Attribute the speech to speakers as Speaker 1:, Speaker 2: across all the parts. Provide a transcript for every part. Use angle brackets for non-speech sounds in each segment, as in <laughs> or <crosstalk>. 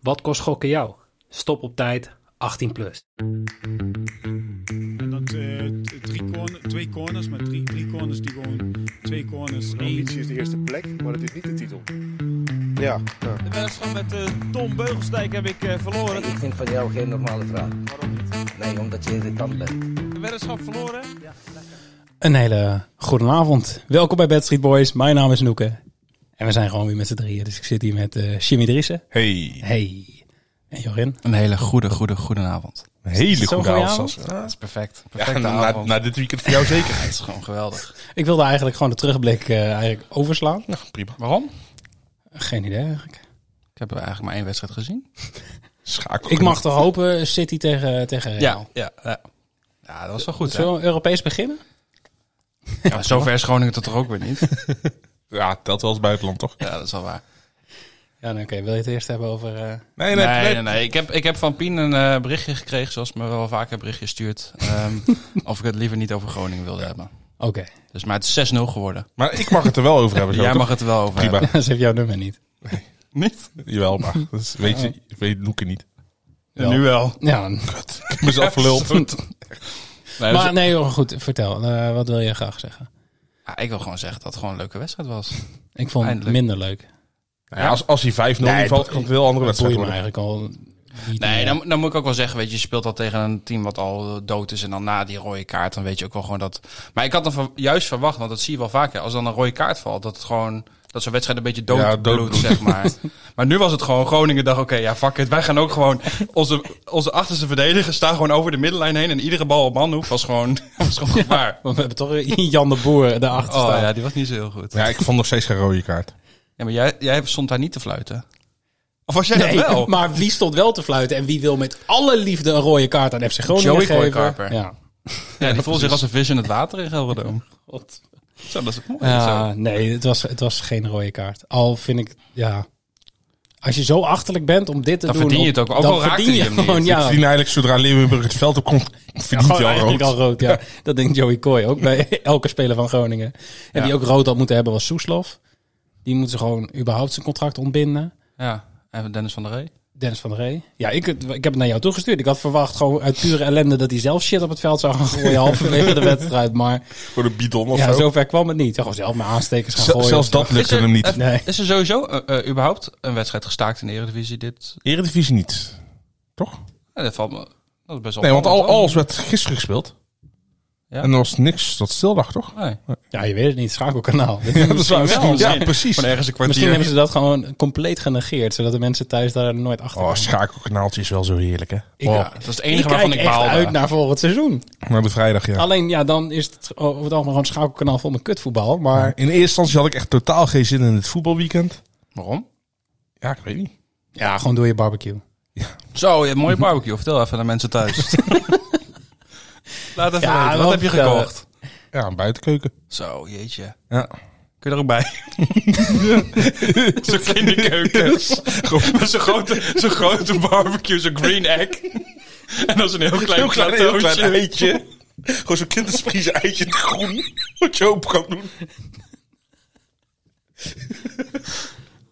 Speaker 1: Wat kost gokken jou? Stop op tijd, 18 plus.
Speaker 2: En dat eh, t- drie corner- twee corners, maar drie, drie corners die gewoon twee corners
Speaker 3: De
Speaker 2: één.
Speaker 3: ambitie is de eerste plek, maar het is niet de titel.
Speaker 4: Ja, ja.
Speaker 5: De wedstrijd met eh, Tom Beugelstijk heb ik eh, verloren.
Speaker 6: Ik vind van jou geen normale vraag. Nee, omdat je irritant bent.
Speaker 5: De weddenschap verloren.
Speaker 7: Een hele goede avond. Welkom bij Bad Street Boys. Mijn naam is Noeke. En we zijn gewoon weer met z'n drieën. Dus ik zit hier met eh Jimmy Driessen.
Speaker 8: Hey.
Speaker 7: Hey. En Jorin.
Speaker 8: Een hele goede, goede, goede avond. Een hele
Speaker 7: Zo'n goede avond?
Speaker 8: Sas. Ja, dat is perfect. Perfecte
Speaker 9: na-
Speaker 8: avond.
Speaker 9: na dit weekend voor jou zeker.
Speaker 8: Ja, <laughs> het is gewoon geweldig.
Speaker 7: Ik wilde eigenlijk gewoon de terugblik eh, eigenlijk overslaan.
Speaker 9: <laughs> Nou, prima.
Speaker 8: Waarom?
Speaker 7: Geen idee eigenlijk.
Speaker 8: Ik heb eigenlijk maar één wedstrijd
Speaker 9: <laughs>
Speaker 8: gezien.
Speaker 9: Schakel.
Speaker 7: Ik mag toch hopen City tegen, tegen Real.
Speaker 8: ja. Ja, ja dat was wel goed. Hè?
Speaker 7: Zullen we Europees beginnen?
Speaker 8: Ja, zover is Groningen tot toch ook weer niet.
Speaker 9: Ja, telt wel als buitenland, toch?
Speaker 8: Ja, dat is wel waar.
Speaker 7: Ja, nou, oké. Wil je het eerst hebben over... eh,
Speaker 9: Nee, nee,
Speaker 8: Nee,
Speaker 9: nee.
Speaker 8: nee, nee. Ik, heb, ik heb van Pien een eh, berichtje gekregen, zoals me wel vaker een berichtje stuurt. ehm, of ik het liever niet over Groningen wilde hebben.
Speaker 7: Oké. <laughs>
Speaker 8: Dus, maar het is 6-0 geworden.
Speaker 9: Maar ik mag het er wel over hebben. Zo,
Speaker 8: <laughs> Jij
Speaker 9: toch?
Speaker 8: mag het er wel over
Speaker 9: Prima.
Speaker 8: hebben.
Speaker 7: Ze heeft jouw nummer niet.
Speaker 8: <laughs> Niet?
Speaker 9: Jawel, maar dat is- weet, je, weet Noeke niet.
Speaker 7: Wel.
Speaker 8: Nu wel.
Speaker 7: Ja.
Speaker 9: Ik heb
Speaker 8: <laughs>
Speaker 9: mezelf verluld.
Speaker 8: Nee,
Speaker 7: <laughs>
Speaker 8: dus-
Speaker 7: Maar nee, joh, goed. Vertel. Eh, wat wil je graag zeggen?
Speaker 8: Ja, ik wil gewoon zeggen dat het gewoon een leuke wedstrijd was.
Speaker 7: Ik vond
Speaker 8: Eindelijk.
Speaker 7: het minder leuk.
Speaker 9: Nou ja, als, als hij 5-0
Speaker 7: Nee,
Speaker 9: valt, kan het een heel andere
Speaker 7: Dat boeit
Speaker 9: wedstrijd
Speaker 7: me
Speaker 9: worden.
Speaker 7: eigenlijk al niet
Speaker 8: Nee,
Speaker 7: meer.
Speaker 8: dan, dan moet ik ook wel zeggen, weet je, je speelt al tegen een team wat al eh, dood is en dan na die rode kaart, dan weet je ook wel gewoon dat. Maar ik had dan ver- juist verwacht, want dat zie je wel vaker, als dan een rode kaart valt, dat het gewoon dat zo'n wedstrijd een beetje dood,
Speaker 9: Ja, doodbloedt.
Speaker 8: bloedt, zeg <laughs> maar. maar nu was het gewoon Groningen dacht, oké, ja, fuck it, wij gaan ook gewoon onze, onze achterste verdedigers staan gewoon over de middenlijn heen en iedere bal op manhoef was gewoon <laughs> was gewoon gevaar.
Speaker 7: Want we hebben toch <laughs> Jan de Boer daarachter
Speaker 8: Oh
Speaker 7: staan.
Speaker 8: ja, die was niet zo heel goed. Ja,
Speaker 9: Ja, ik vond nog steeds geen rode kaart.
Speaker 8: maar jij, jij stond daar niet te fluiten. Of was jij
Speaker 7: Nee,
Speaker 8: dat wel?
Speaker 7: maar wie stond wel te fluiten en wie wil met alle liefde een rode kaart aan FC Groningen
Speaker 8: Joey
Speaker 7: geven?
Speaker 8: Kooikarper.
Speaker 7: Ja.
Speaker 8: Ja, die voelde zich als een vis in het water in <laughs> Gelderdoom.
Speaker 7: God.
Speaker 8: Zo, dat is mooi. Zo.
Speaker 7: Ja, nee, het was, het was geen rode kaart. Al vind ik, ja... Als je zo achterlijk bent om dit te
Speaker 8: Dan
Speaker 7: doen...
Speaker 8: verdien je
Speaker 7: op-
Speaker 8: het ook. Ook
Speaker 7: dan
Speaker 8: al raakte
Speaker 7: verdien
Speaker 8: hij
Speaker 7: je
Speaker 8: hem niet.
Speaker 7: gewoon,
Speaker 9: Ik
Speaker 7: ja.
Speaker 9: verdien eigenlijk zodra Leeuwenburg het veld op komt, verdient
Speaker 7: Ah. Gewoon
Speaker 9: hij al rood.
Speaker 7: eigenlijk al rood, ja. Dat denkt Joey Kooi ook bij elke speler van Groningen. En die ook rood had moeten hebben was Soeslof. Die moeten ze gewoon überhaupt zijn contract ontbinden.
Speaker 8: Ja, en Dennis van der Ree.
Speaker 7: Dennis van der Ree. Ja, ik, ik heb het naar jou toegestuurd. Ik had verwacht gewoon uit pure ellende dat hij zelf shit op het veld zou gaan
Speaker 9: <laughs>
Speaker 7: gooien halverwege de wedstrijd. Maar
Speaker 9: Voor de bidon of
Speaker 7: ja,
Speaker 9: zo.
Speaker 7: zover kwam het niet. Ja, Gewoon zelf met aanstekers gaan
Speaker 9: Z-
Speaker 7: gooien.
Speaker 9: zelfs dat lukte hem niet.
Speaker 7: Nee.
Speaker 8: Is er sowieso eh, eh, überhaupt een wedstrijd gestaakt in de Eredivisie? Dit,
Speaker 9: Eredivisie niet. Toch?
Speaker 8: ja, dat valt me... Dat is best wel
Speaker 9: Nee, want al,
Speaker 8: opvallend,
Speaker 9: alles werd gisteren gespeeld.
Speaker 8: Ja. Oh,
Speaker 9: En er was niks tot stildag, toch?
Speaker 8: hoor. Nee.
Speaker 7: Ja, je weet het niet.
Speaker 9: <laughs>
Speaker 7: Schakelkanaal.
Speaker 9: Dat is waar.
Speaker 8: wel.
Speaker 9: Ja,
Speaker 8: Misschien.
Speaker 9: precies.
Speaker 8: Van ergens een
Speaker 7: Misschien
Speaker 8: kwartier.
Speaker 7: hebben ze dat gewoon compleet genegeerd. Zodat de mensen thuis daar nooit achter
Speaker 9: Oh,
Speaker 7: komen.
Speaker 9: schakelkanaaltje is wel zo heerlijk, hè?
Speaker 7: Ik-
Speaker 8: Ja, dat is het enige
Speaker 7: ik
Speaker 8: waarvan
Speaker 7: kijk
Speaker 8: ik
Speaker 7: echt
Speaker 8: baalde.
Speaker 7: uit naar volgend seizoen.
Speaker 9: Maar de vrijdag, ja.
Speaker 7: Alleen ja, dan is het over het algemeen gewoon schakelkanaal vol met kutvoetbal. Maar
Speaker 9: In eerste instantie had ik echt totaal geen zin in het voetbalweekend.
Speaker 8: Waarom?
Speaker 9: Ja, ik weet niet.
Speaker 7: ja, gewoon door je barbecue.
Speaker 8: Zo, je hebt een mooie barbecue. Vertel even aan de mensen thuis. <laughs> Laat even
Speaker 7: Ja,
Speaker 8: weten.
Speaker 7: wel
Speaker 8: Wat heb je
Speaker 7: vertellen.
Speaker 8: gekocht?
Speaker 9: Ja, een buitenkeuken.
Speaker 8: Zo, jeetje.
Speaker 9: Ja.
Speaker 8: Kun je er ook bij? <laughs> zo'n
Speaker 9: <laughs>
Speaker 8: kinderkeuken. Met zo'n grote, zo'n grote barbecue, zo'n green egg. En dan zo'n heel klein,
Speaker 9: Heel klein, heel klein
Speaker 8: plateautje.
Speaker 9: eitje. Gewoon zo'n kinderspries eitje in het groen. Wat je open kan doen.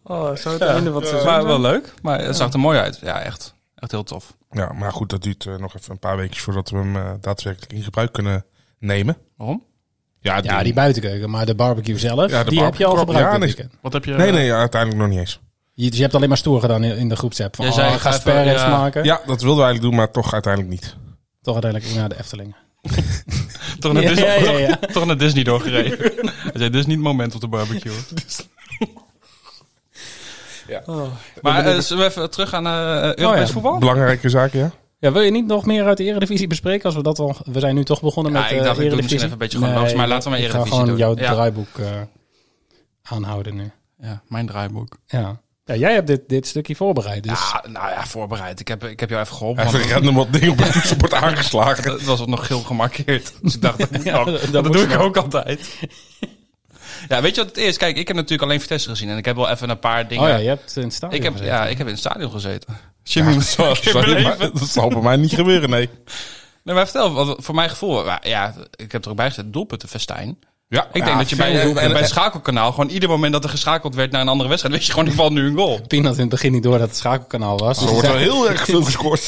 Speaker 7: Oh, zo het einde wat
Speaker 8: Het was wel leuk, maar het zag er mooi uit. Ja, echt. Echt heel tof.
Speaker 9: Ja, maar goed, dat duurt eh, nog even een paar weken voordat we hem eh, daadwerkelijk in gebruik kunnen nemen.
Speaker 8: Waarom?
Speaker 9: Ja,
Speaker 7: Ja, die buitenkeuken, maar de barbecue zelf,
Speaker 9: Ja, de
Speaker 7: die heb je al
Speaker 9: barbecue-
Speaker 7: gebruikt
Speaker 9: ja,
Speaker 7: dit
Speaker 9: nee.
Speaker 7: weekend.
Speaker 8: Wat heb je...
Speaker 9: Nee, nee, ja, uiteindelijk nog niet eens.
Speaker 7: Je, dus je hebt alleen maar stoer gedaan in in de groepsapp. Van,
Speaker 8: Jij
Speaker 7: oh,
Speaker 8: zei,
Speaker 7: ik ga
Speaker 8: ga even,
Speaker 7: sperrens
Speaker 8: ja.
Speaker 7: maken.
Speaker 9: Ja, dat wilden we eigenlijk doen, maar toch uiteindelijk niet.
Speaker 7: Toch uiteindelijk naar de Efteling.
Speaker 8: Toch naar Disney,
Speaker 7: Ja, ja, ja.
Speaker 8: Toch, toch naar Disney doorgereden. Hij zei, dit is niet het moment op de barbecue. <laughs>
Speaker 9: Ja.
Speaker 8: Dus- Maar eh, zullen we even terug aan eh, Europees
Speaker 7: ja.
Speaker 8: voetbal?
Speaker 9: Belangrijke zaken, ja.
Speaker 7: Ja, wil je niet nog meer uit de Eredivisie bespreken? Als we, dat al, we zijn nu toch begonnen
Speaker 8: Ja,
Speaker 7: met
Speaker 8: ik
Speaker 7: eh,
Speaker 8: dacht, ik doe
Speaker 7: Eredivisie.
Speaker 8: misschien even een beetje gewoon langs, maar laten we maar
Speaker 7: ik
Speaker 8: Eredivisie
Speaker 7: ga gewoon
Speaker 8: doen.
Speaker 7: jouw
Speaker 8: Ja.
Speaker 7: draaiboek eh, aanhouden nu.
Speaker 8: Ja, mijn draaiboek.
Speaker 7: Ja. ja, jij hebt dit, dit stukje voorbereid. Dus.
Speaker 8: Ja, nou ja, voorbereid. Ik heb, ik heb jou even geholpen.
Speaker 9: Hij heeft
Speaker 8: want-
Speaker 9: random wat dingen op het toetsenbord <laughs> aangeslagen.
Speaker 8: Het was nog geel gemarkeerd. <laughs> Dus ik dacht, dat, moet ook.
Speaker 7: dat- dat
Speaker 8: dat,
Speaker 7: moet
Speaker 8: doe
Speaker 7: je
Speaker 8: ik
Speaker 7: nog.
Speaker 8: ook altijd. ja, weet je wat het is? Kijk, ik heb natuurlijk alleen Vitesse gezien. En ik heb wel even een paar dingen...
Speaker 7: oh ja, je hebt in het stadion
Speaker 8: ik, heb,
Speaker 7: gezeten.
Speaker 8: ja, ik heb in het stadion gezeten. Jimmy ja,
Speaker 9: Zo,
Speaker 8: <laughs>
Speaker 9: sorry, maar dat zal bij mij niet gebeuren, nee.
Speaker 8: Nee, maar vertel, wat, voor mijn gevoel... maar Ja, ik heb er ook bij gezet. Doelpuntenfestijn. Ja, ik denk
Speaker 7: Ja,
Speaker 8: dat je
Speaker 7: veel
Speaker 8: bij,
Speaker 7: doelpunten.
Speaker 8: bij het schakelkanaal gewoon ieder moment dat er geschakeld werd naar een andere wedstrijd, <laughs> weet je gewoon, er valt nu een goal.
Speaker 7: Pien had in het begin niet door dat het schakelkanaal was. Dus
Speaker 9: Er
Speaker 7: die
Speaker 9: wordt wel
Speaker 7: zei,
Speaker 9: heel erg veel
Speaker 7: <laughs>
Speaker 9: gescoord.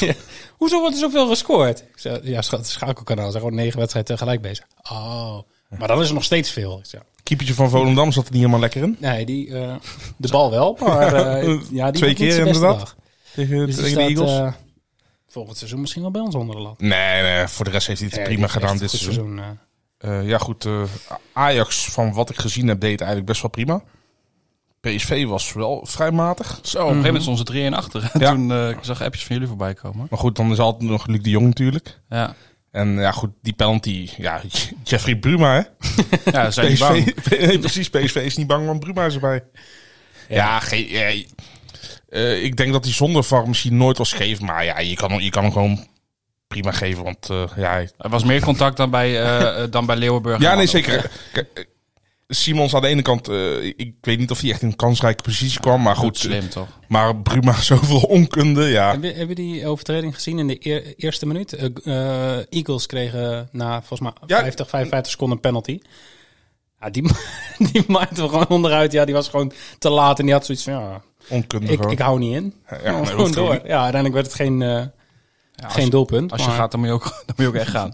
Speaker 7: Hoezo wordt er zoveel gescoord? Ik zei, ja, scha- het schakelkanaal. Ze zijn gewoon negen wedstrijden tegelijk bezig. Oh, maar dan is er nog steeds veel. Ik zei,
Speaker 9: <laughs> Keepertje van Volendam zat er niet helemaal lekker in.
Speaker 7: nee, die, eh, de bal wel, maar
Speaker 8: <laughs>
Speaker 7: eh, ja, die
Speaker 9: Twee
Speaker 7: had niet
Speaker 9: keer
Speaker 7: zijn beste
Speaker 9: inderdaad.
Speaker 7: dag.
Speaker 9: Tegen,
Speaker 7: Dus die
Speaker 9: tegen de
Speaker 7: staat,
Speaker 9: Eagles.
Speaker 7: eh, volgend seizoen misschien wel bij ons onder de lat.
Speaker 9: nee, nee, voor de rest heeft hij het
Speaker 7: Ja, die
Speaker 9: prima
Speaker 7: is echt
Speaker 9: gedaan
Speaker 7: een
Speaker 9: dit
Speaker 7: goed
Speaker 9: seizoen.
Speaker 7: eh.
Speaker 9: Eh, ja, goed. eh, Ajax, van wat ik gezien heb, deed het eigenlijk best wel prima. PSV was wel vrij matig.
Speaker 8: Zo, op een
Speaker 7: Mhm.
Speaker 8: gegeven moment stonden ze 3 en achter. <laughs> En
Speaker 9: Ja.
Speaker 8: toen eh, ik zag appjes van jullie voorbij komen.
Speaker 9: Maar goed, dan is altijd nog Luc de Jong natuurlijk.
Speaker 8: Ja,
Speaker 9: En ja, goed, die penalty. Ja, <laughs> Jeffrey Bruma, hè?
Speaker 8: ja zijn niet bang.
Speaker 9: PSV, <laughs> nee, precies, PSV is niet bang, want Bruma is erbij. Ja, ge- eh, eh, ik denk dat hij zonder VAR misschien nooit was geven. Maar ja, je kan, hem- je kan hem gewoon prima geven. Want eh, ja, hij-
Speaker 8: Er was meer contact dan bij, eh, eh, dan bij Leeuwenburg.
Speaker 9: ja
Speaker 8: en
Speaker 9: nee,
Speaker 8: Arnhem.
Speaker 9: <laughs> zeker. Kijk, eh, Simons aan de ene kant, eh, ik weet niet of hij echt in een kansrijke positie kwam. Maar
Speaker 8: Goed,
Speaker 9: goed, eh,
Speaker 8: slim toch?
Speaker 9: maar Bruma <laughs> zoveel onkunde, ja.
Speaker 7: Hebben, hebben die overtreding gezien in de eer- eerste minuut? Eh, g- eh, Eagles kregen na volgens mij
Speaker 9: Ja.
Speaker 7: 50, 55 seconden een penalty. Ja, die, <laughs> ma- die maakte we gewoon onderuit. Ja, die was gewoon te laat en die had zoiets van, ja,
Speaker 9: Onkunde
Speaker 7: ik,
Speaker 9: gewoon.
Speaker 7: ik hou niet in.
Speaker 9: Ja,
Speaker 7: Ja,
Speaker 9: nee, dat
Speaker 7: gewoon
Speaker 9: hoeft
Speaker 7: door.
Speaker 9: gewoon
Speaker 7: Ja, uiteindelijk werd het geen, eh,
Speaker 8: Ja,
Speaker 7: geen doelpunt.
Speaker 8: Als je
Speaker 7: maar-
Speaker 8: gaat, dan moet je ook, <laughs> dan moet je ook echt gaan.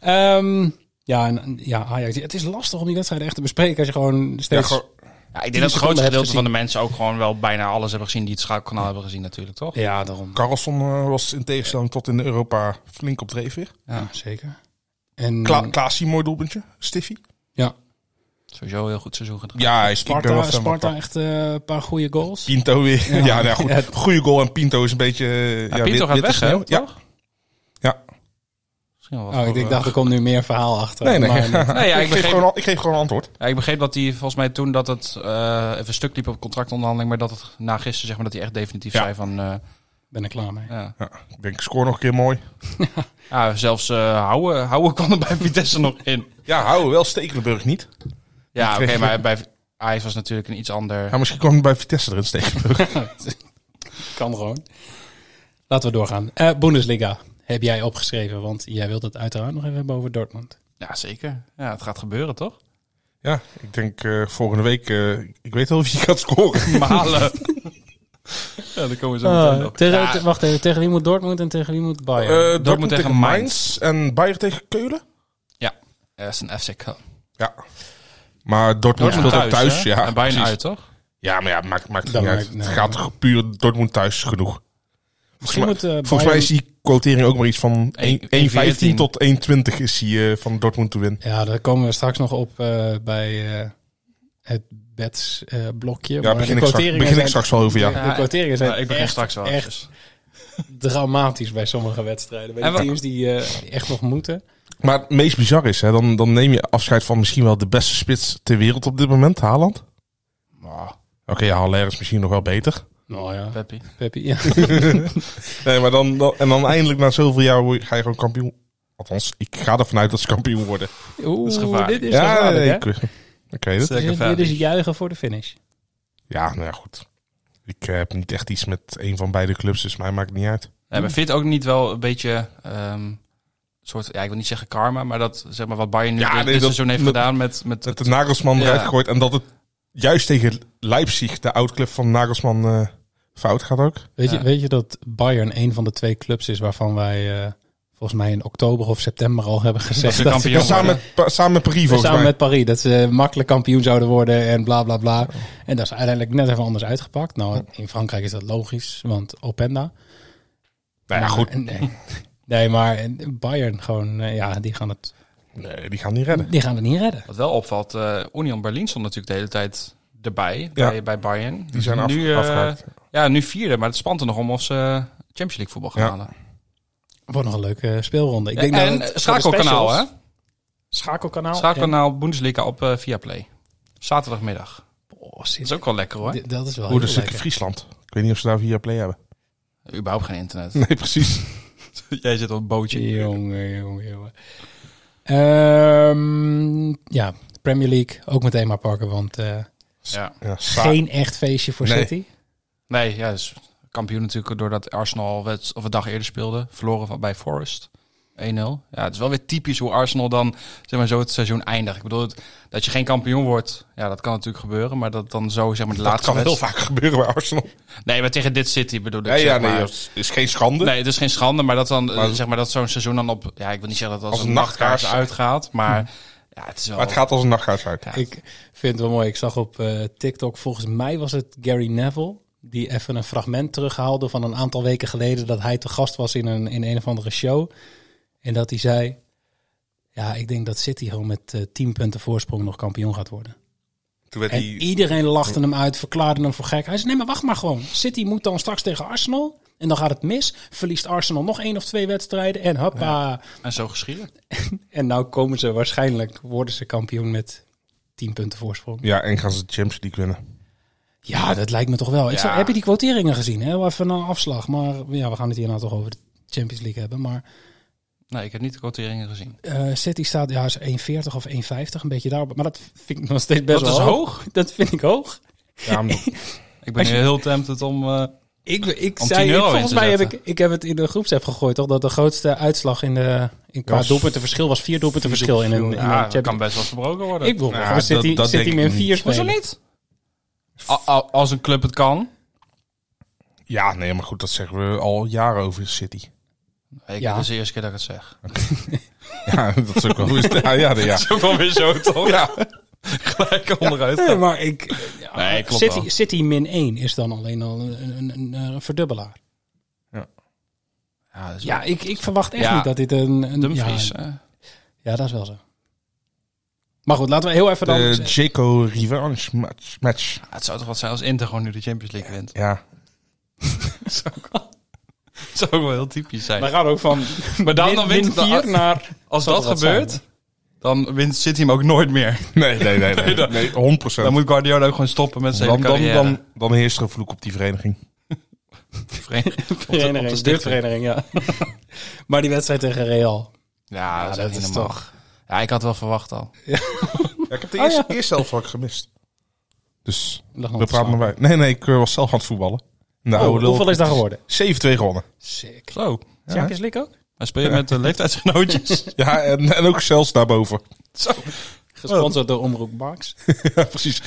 Speaker 7: Ehm, ja, en, ja, Ajax. Het is lastig om die wedstrijd echt te bespreken als je gewoon
Speaker 9: Ja,
Speaker 7: steeds... Ja,
Speaker 9: gewoon-
Speaker 8: Ja, ik
Speaker 7: Tien
Speaker 8: denk dat het
Speaker 7: seconden heb
Speaker 8: grootste gedeelte
Speaker 7: gezien.
Speaker 8: van de mensen ook gewoon wel bijna alles hebben gezien die het schakelkanaal hebben gezien natuurlijk, toch?
Speaker 7: daarom.
Speaker 9: Carlson eh, was in tegenstelling tot in Europa flink op dreef weer.
Speaker 7: Ja, zeker. En, eh,
Speaker 9: Kla Klaasie, mooi doelpuntje. Stiffy.
Speaker 7: ja,
Speaker 8: Sowieso een heel goed seizoen gedraaid.
Speaker 9: Ja, hij is ik ben
Speaker 7: Sparta,
Speaker 9: wel fan van
Speaker 7: Sparta echt eh, een paar goede goals.
Speaker 9: Pinto weer. Ja, nou ja, goed.
Speaker 7: Ja.
Speaker 9: Goeie goal en Pinto is een beetje... eh,
Speaker 8: Ja, Ah, Pinto
Speaker 9: wit-
Speaker 8: gaat
Speaker 9: witte
Speaker 8: weg, hè,
Speaker 9: sneeuw. Ja.
Speaker 8: toch?
Speaker 9: Ja.
Speaker 8: Misschien wel wat
Speaker 7: Oh, ik
Speaker 8: voor,
Speaker 7: denk-
Speaker 8: eh,
Speaker 7: dacht, er komt nu meer verhaal achter.
Speaker 9: Nee, nee.
Speaker 7: Maar eh, <laughs>
Speaker 9: <laughs>
Speaker 7: niet.
Speaker 8: Nee, ja, ik
Speaker 9: ik, geef
Speaker 8: begreep-
Speaker 9: gewoon, al- ik geef gewoon antwoord.
Speaker 8: Ja, ik begreep dat hij volgens mij toen dat het eh, even stuk liep op contractonderhandeling, maar dat het na gisteren zeg maar dat hij echt definitief
Speaker 9: Ja.
Speaker 8: zei van eh,
Speaker 7: ben ik klaar mee.
Speaker 8: ja.
Speaker 9: Ja, ik denk, score nog een keer mooi.
Speaker 8: ja, zelfs eh houden, houden kan er bij <laughs> Vitesse nog in.
Speaker 9: Ja, houden wel Stekelenburg niet.
Speaker 8: Ja, oké,
Speaker 9: kreeg-
Speaker 8: maar bij Ajax was natuurlijk een iets ander.
Speaker 9: Ja, misschien kwam hij bij Vitesse erin Stekelenburg. <laughs>
Speaker 7: Kan gewoon. Laten we doorgaan. Eh, Bundesliga heb jij opgeschreven, want jij wilt het uiteraard nog even hebben over Dortmund.
Speaker 8: Ja, zeker. Ja, het gaat gebeuren toch? <laughs>
Speaker 9: ja, ik denk eh, volgende week... eh, ik weet wel wie gaat <laughs> scoren.
Speaker 8: Malen. ja, dan komen ze meteen op.
Speaker 7: Eh, tegen,
Speaker 8: Ja,
Speaker 7: te- Ah, wacht even, tegen wie moet Dortmund en tegen wie moet Bayern?
Speaker 9: Eh,
Speaker 8: Dortmund tegen Mainz.
Speaker 9: en Bayern tegen Keulen.
Speaker 8: dat is een FC Cup.
Speaker 9: Ja. Maar Dortmund
Speaker 8: Dortmund
Speaker 9: speelt ook thuis.
Speaker 8: hè?
Speaker 9: ja,
Speaker 8: en bijna
Speaker 9: precies.
Speaker 8: uit, toch?
Speaker 9: Ja, maar ja, maakt, maakt
Speaker 7: Dat
Speaker 9: niet
Speaker 7: maakt-
Speaker 9: uit.
Speaker 7: nee.
Speaker 9: het gaat toch puur Dortmund thuis genoeg.
Speaker 7: Misschien
Speaker 9: maar-
Speaker 7: moet, eh,
Speaker 9: Volgens mij
Speaker 7: Bayern-
Speaker 9: is die quotering ook maar iets van
Speaker 8: Eén-
Speaker 9: 1
Speaker 8: 1,14
Speaker 9: 1,15 tot 1,20 is die eh, van Dortmund te winnen.
Speaker 7: Ja, daar komen we straks nog op eh, bij eh, het eh, bedsblokje.
Speaker 9: Ja, begin, ik straks, begin ik straks wel over, ja.
Speaker 7: De quoteringen zijn
Speaker 8: Ja, ik begin
Speaker 7: echt,
Speaker 8: straks wel.
Speaker 7: echt <laughs>
Speaker 8: dus.
Speaker 7: dramatisch bij sommige wedstrijden. Bij
Speaker 8: En
Speaker 7: de
Speaker 8: wat-
Speaker 7: teams die eh, echt nog moeten.
Speaker 9: Maar het meest bizar is, hè, dan, dan neem je afscheid van misschien wel de beste spits ter wereld op dit moment, Haaland.
Speaker 8: Nou,
Speaker 9: Oké, ja, Haller is misschien nog wel beter.
Speaker 7: Nou ja,
Speaker 8: Peppy.
Speaker 7: Peppy. <laughs> Ja.
Speaker 9: Nee, maar dan, dan, en dan eindelijk na zoveel jaar word je- ga je gewoon kampioen. Althans, ik ga ervan uit dat ze kampioen worden.
Speaker 7: Oeh,
Speaker 8: is gevaarlijk.
Speaker 7: dit is
Speaker 9: ja,
Speaker 7: gevaarlijk,
Speaker 9: nee,
Speaker 7: hè?
Speaker 9: ik, ik weet het.
Speaker 8: Zeker
Speaker 7: Dit- dit
Speaker 8: veilig.
Speaker 7: is juichen voor de finish.
Speaker 9: Ja, nou ja, goed. Ik eh, heb niet echt iets met een van beide clubs, dus mij maakt het niet uit.
Speaker 8: Ja, maar vindt ook niet wel een beetje ehm, soort, ja, ik wil niet zeggen karma, maar dat zeg maar wat Bayern nu
Speaker 9: Ja,
Speaker 8: dit,
Speaker 9: nee,
Speaker 8: dit
Speaker 9: dat-
Speaker 8: seizoen heeft
Speaker 9: dat-
Speaker 8: gedaan met, met
Speaker 9: Dat de Nagelsman
Speaker 8: Ja.
Speaker 9: eruit gegooid en dat het juist tegen Leipzig, de oud-club van Nagelsman, eh, fout gaat ook.
Speaker 7: Weet,
Speaker 8: Ja.
Speaker 7: je, weet je dat Bayern een van de twee clubs is waarvan wij eh, volgens mij in oktober of september al hebben gezegd
Speaker 8: ze
Speaker 7: dat
Speaker 8: kampioen
Speaker 9: Ja,
Speaker 8: worden.
Speaker 7: dat
Speaker 9: samen, met, pa- samen met Paris,
Speaker 7: ze-
Speaker 9: volgens
Speaker 7: samen
Speaker 9: mij.
Speaker 7: met Paris dat ze makkelijk kampioen zouden worden en bla bla bla. En dat is uiteindelijk net even anders uitgepakt. Nou, in Frankrijk is dat logisch, want Openda.
Speaker 9: Nou ja, goed.
Speaker 7: Maar- Nee, nee maar en Bayern gewoon, eh, ja, die gaan, het,
Speaker 9: Nee, die gaan niet redden.
Speaker 7: die gaan het niet redden.
Speaker 8: Wat wel opvalt, eh Union Berlin stond natuurlijk de hele tijd erbij
Speaker 9: Ja.
Speaker 8: bij, bij Bayern.
Speaker 9: Die zijn af,
Speaker 8: nu, eh,
Speaker 9: afgehaakt.
Speaker 8: Ja, nu vierde, maar het spant er nog om of ze eh, Champions League voetbal gaan
Speaker 9: Ja.
Speaker 8: halen.
Speaker 7: Wordt nog een leuke speelronde. Ik
Speaker 8: Ja,
Speaker 7: denk dat
Speaker 8: en
Speaker 7: het voor de
Speaker 8: schakelkanaal, hè?
Speaker 7: specials- Nou, Schakelkanaal.
Speaker 8: Schakelkanaal Bundesliga op eh, Viaplay. Zaterdagmiddag.
Speaker 7: En- Oh, zit-
Speaker 8: Dat is ook wel lekker hoor.
Speaker 7: dit- dat is wel
Speaker 9: Hoe de
Speaker 7: heel
Speaker 9: stukje
Speaker 7: lekker.
Speaker 9: Friesland. Ik weet niet of ze daar via play hebben.
Speaker 8: Überhaupt geen internet.
Speaker 9: Nee, precies.
Speaker 8: <laughs> Jij zit op een bootje.
Speaker 7: Jongen, jongen, jongen. Ehm, ja, Premier League ook meteen maar pakken, want eh,
Speaker 8: Ja.
Speaker 9: Ja, sa-
Speaker 7: geen echt feestje voor
Speaker 9: Nee.
Speaker 7: City.
Speaker 8: Nee, ja, dus kampioen natuurlijk doordat Arsenal wet, of een dag eerder speelde. Verloren van, bij Forest. 1-0. Ja, het is wel weer typisch hoe Arsenal dan zeg maar, zo het seizoen eindigt. Ik bedoel, het- dat je geen kampioen wordt, ja, dat kan natuurlijk gebeuren. Maar dat dan zo, zeg maar, de
Speaker 9: Dat
Speaker 8: laatste
Speaker 9: kan heel
Speaker 8: wedst-
Speaker 9: vaak gebeuren bij Arsenal.
Speaker 8: Nee, maar tegen dit City bedoel ik.
Speaker 9: Ja, ja,
Speaker 8: zeg
Speaker 9: nee,
Speaker 8: maar.
Speaker 9: dat is geen schande.
Speaker 8: Nee, het is geen schande, maar dat dan eh,
Speaker 9: Maar-
Speaker 8: zeg maar dat zo'n seizoen dan op. Ja, ik wil niet zeggen dat het als,
Speaker 9: Als
Speaker 8: een
Speaker 9: een nachtkaars. Hmm.
Speaker 8: nachtkaars uitgaat, maar ja, het is wel.
Speaker 9: Maar het gaat als een nachtgaas uit.
Speaker 7: Ik vind het wel mooi. Ik zag op eh, TikTok, volgens mij was het Gary Neville. Die even een fragment terughaalde van een aantal weken geleden. Dat hij te gast was in een, in een of andere show. En dat hij zei. Ja, ik denk dat City gewoon met eh 10 punten voorsprong nog kampioen gaat worden.
Speaker 9: Toen werd
Speaker 7: En
Speaker 9: die...
Speaker 7: iedereen lachte hem uit, verklaarde hem voor gek. Hij zei, nee, maar wacht maar gewoon. City moet dan straks tegen Arsenal. En dan gaat het mis. Verliest Arsenal nog één of twee wedstrijden. En hoppa.
Speaker 8: En zo geschieden.
Speaker 7: En nou komen ze waarschijnlijk, worden ze kampioen met 10 punten voorsprong.
Speaker 9: Ja, en gaan ze de Champions League winnen.
Speaker 7: Ja, dat lijkt me toch wel. Ik
Speaker 8: Ja.
Speaker 7: zou, heb je die quoteringen gezien? Heel even een afslag. Maar ja, we gaan het hierna toch over de Champions League hebben. Maar
Speaker 8: Nee, ik heb niet de quoteringen gezien.
Speaker 7: eh, City staat, ja, is 1,40 of 1,50. Een beetje daarop. Maar dat vind ik nog steeds best
Speaker 8: Dat is
Speaker 7: wel Dat vind ik hoog. <laughs>
Speaker 9: Ja, maar
Speaker 8: Ik ben
Speaker 7: Als je-
Speaker 8: heel tempted om. eh,
Speaker 7: Ik, ik
Speaker 8: Om
Speaker 7: zei,
Speaker 8: 10
Speaker 7: ik-
Speaker 8: euro in
Speaker 7: volgens
Speaker 8: te
Speaker 7: mij heb ik,
Speaker 8: zetten.
Speaker 7: ik heb het in de groepsapp gegooid, toch? Dat de grootste uitslag in de, in qua
Speaker 9: was-
Speaker 7: doelpuntenverschil was vier doelpuntenverschil in een, in een
Speaker 8: ja, dat
Speaker 7: Champions
Speaker 8: kan best wel verbroken worden.
Speaker 7: Ik wil
Speaker 9: Nou,
Speaker 7: gewoon City,
Speaker 9: dat- dat
Speaker 7: City
Speaker 9: denk
Speaker 7: min
Speaker 9: ik niet.
Speaker 7: 4 spelen.
Speaker 8: niet? als een club het kan.
Speaker 9: ja, nee, maar goed, dat zeggen we al jaren over City. <laughs>
Speaker 8: Ik,
Speaker 7: Ja.
Speaker 8: Dat is de eerste keer dat ik het <laughs> zeg.
Speaker 9: Ja, dat is ook wel... Ja, ja, ja.
Speaker 8: is ook wel weer zo, toch? Ja. <laughs> Gelijk onderuit.
Speaker 7: Nee, maar ik,
Speaker 8: Nee, klopt wel.
Speaker 7: City, City min 1 is dan alleen al een, een, een, eh, verdubbelaar.
Speaker 8: Ja, dat is
Speaker 7: Ja, ik, ik verwacht echt
Speaker 8: Ja.
Speaker 7: niet dat dit een... een
Speaker 8: Dumfries.
Speaker 7: ja,
Speaker 8: eh.
Speaker 7: ja, dat is wel zo. Maar goed, laten we heel even dan...
Speaker 9: De Jaco Revenge match. match.
Speaker 8: Ja, het zou toch wat zijn als Inter gewoon nu de Champions League wint.
Speaker 9: Ja.
Speaker 8: <laughs> Dat zou ook wel heel typisch zijn.
Speaker 7: we gaan ook van
Speaker 8: Maar dan, dan ah.
Speaker 7: min
Speaker 8: wint het-
Speaker 7: 4 naar...
Speaker 8: Als
Speaker 7: Zal
Speaker 8: dat
Speaker 7: er wat zijn?
Speaker 8: gebeurt, dan wint City hem ook nooit meer.
Speaker 9: <laughs> Nee, nee, nee. <laughs> Nee, nee, 100%.
Speaker 8: Dan moet Guardiola ook gewoon stoppen met zijn
Speaker 9: dan, dan,
Speaker 8: carrière. <laughs>
Speaker 9: dan, dan heerst er een vloek op die vereniging.
Speaker 8: Veren- op de- op de
Speaker 7: Vereniging,
Speaker 8: stichting.
Speaker 7: jeugdvereniging, ja. <laughs> maar die wedstrijd tegen Real. Ah,
Speaker 8: Ja, dat,
Speaker 7: dat
Speaker 8: is,
Speaker 7: is
Speaker 8: niet normaal.
Speaker 7: toch-
Speaker 8: Ja, ik had wel verwacht al.
Speaker 9: Ja, ik heb de
Speaker 7: Oh,
Speaker 9: eerste,
Speaker 7: ja.
Speaker 9: eerste helft vlak gemist. Dus
Speaker 7: Lag nog
Speaker 9: we
Speaker 7: te
Speaker 9: praten maar
Speaker 7: slapen.
Speaker 9: bij. Nee, nee, ik eh, was zelf aan het voetballen. Nou,
Speaker 7: Oh, hoeveel is dat geworden? Oh.
Speaker 9: 7-2 gewonnen.
Speaker 7: Sick.
Speaker 8: Zo.
Speaker 7: Champions League ook?
Speaker 8: Maar speel je met de leeftijdsgenootjes? <laughs>
Speaker 9: Ja, en, en ook zelfs daarboven. <laughs>
Speaker 7: Gesponsord door Omroep Max.
Speaker 9: Ja, precies.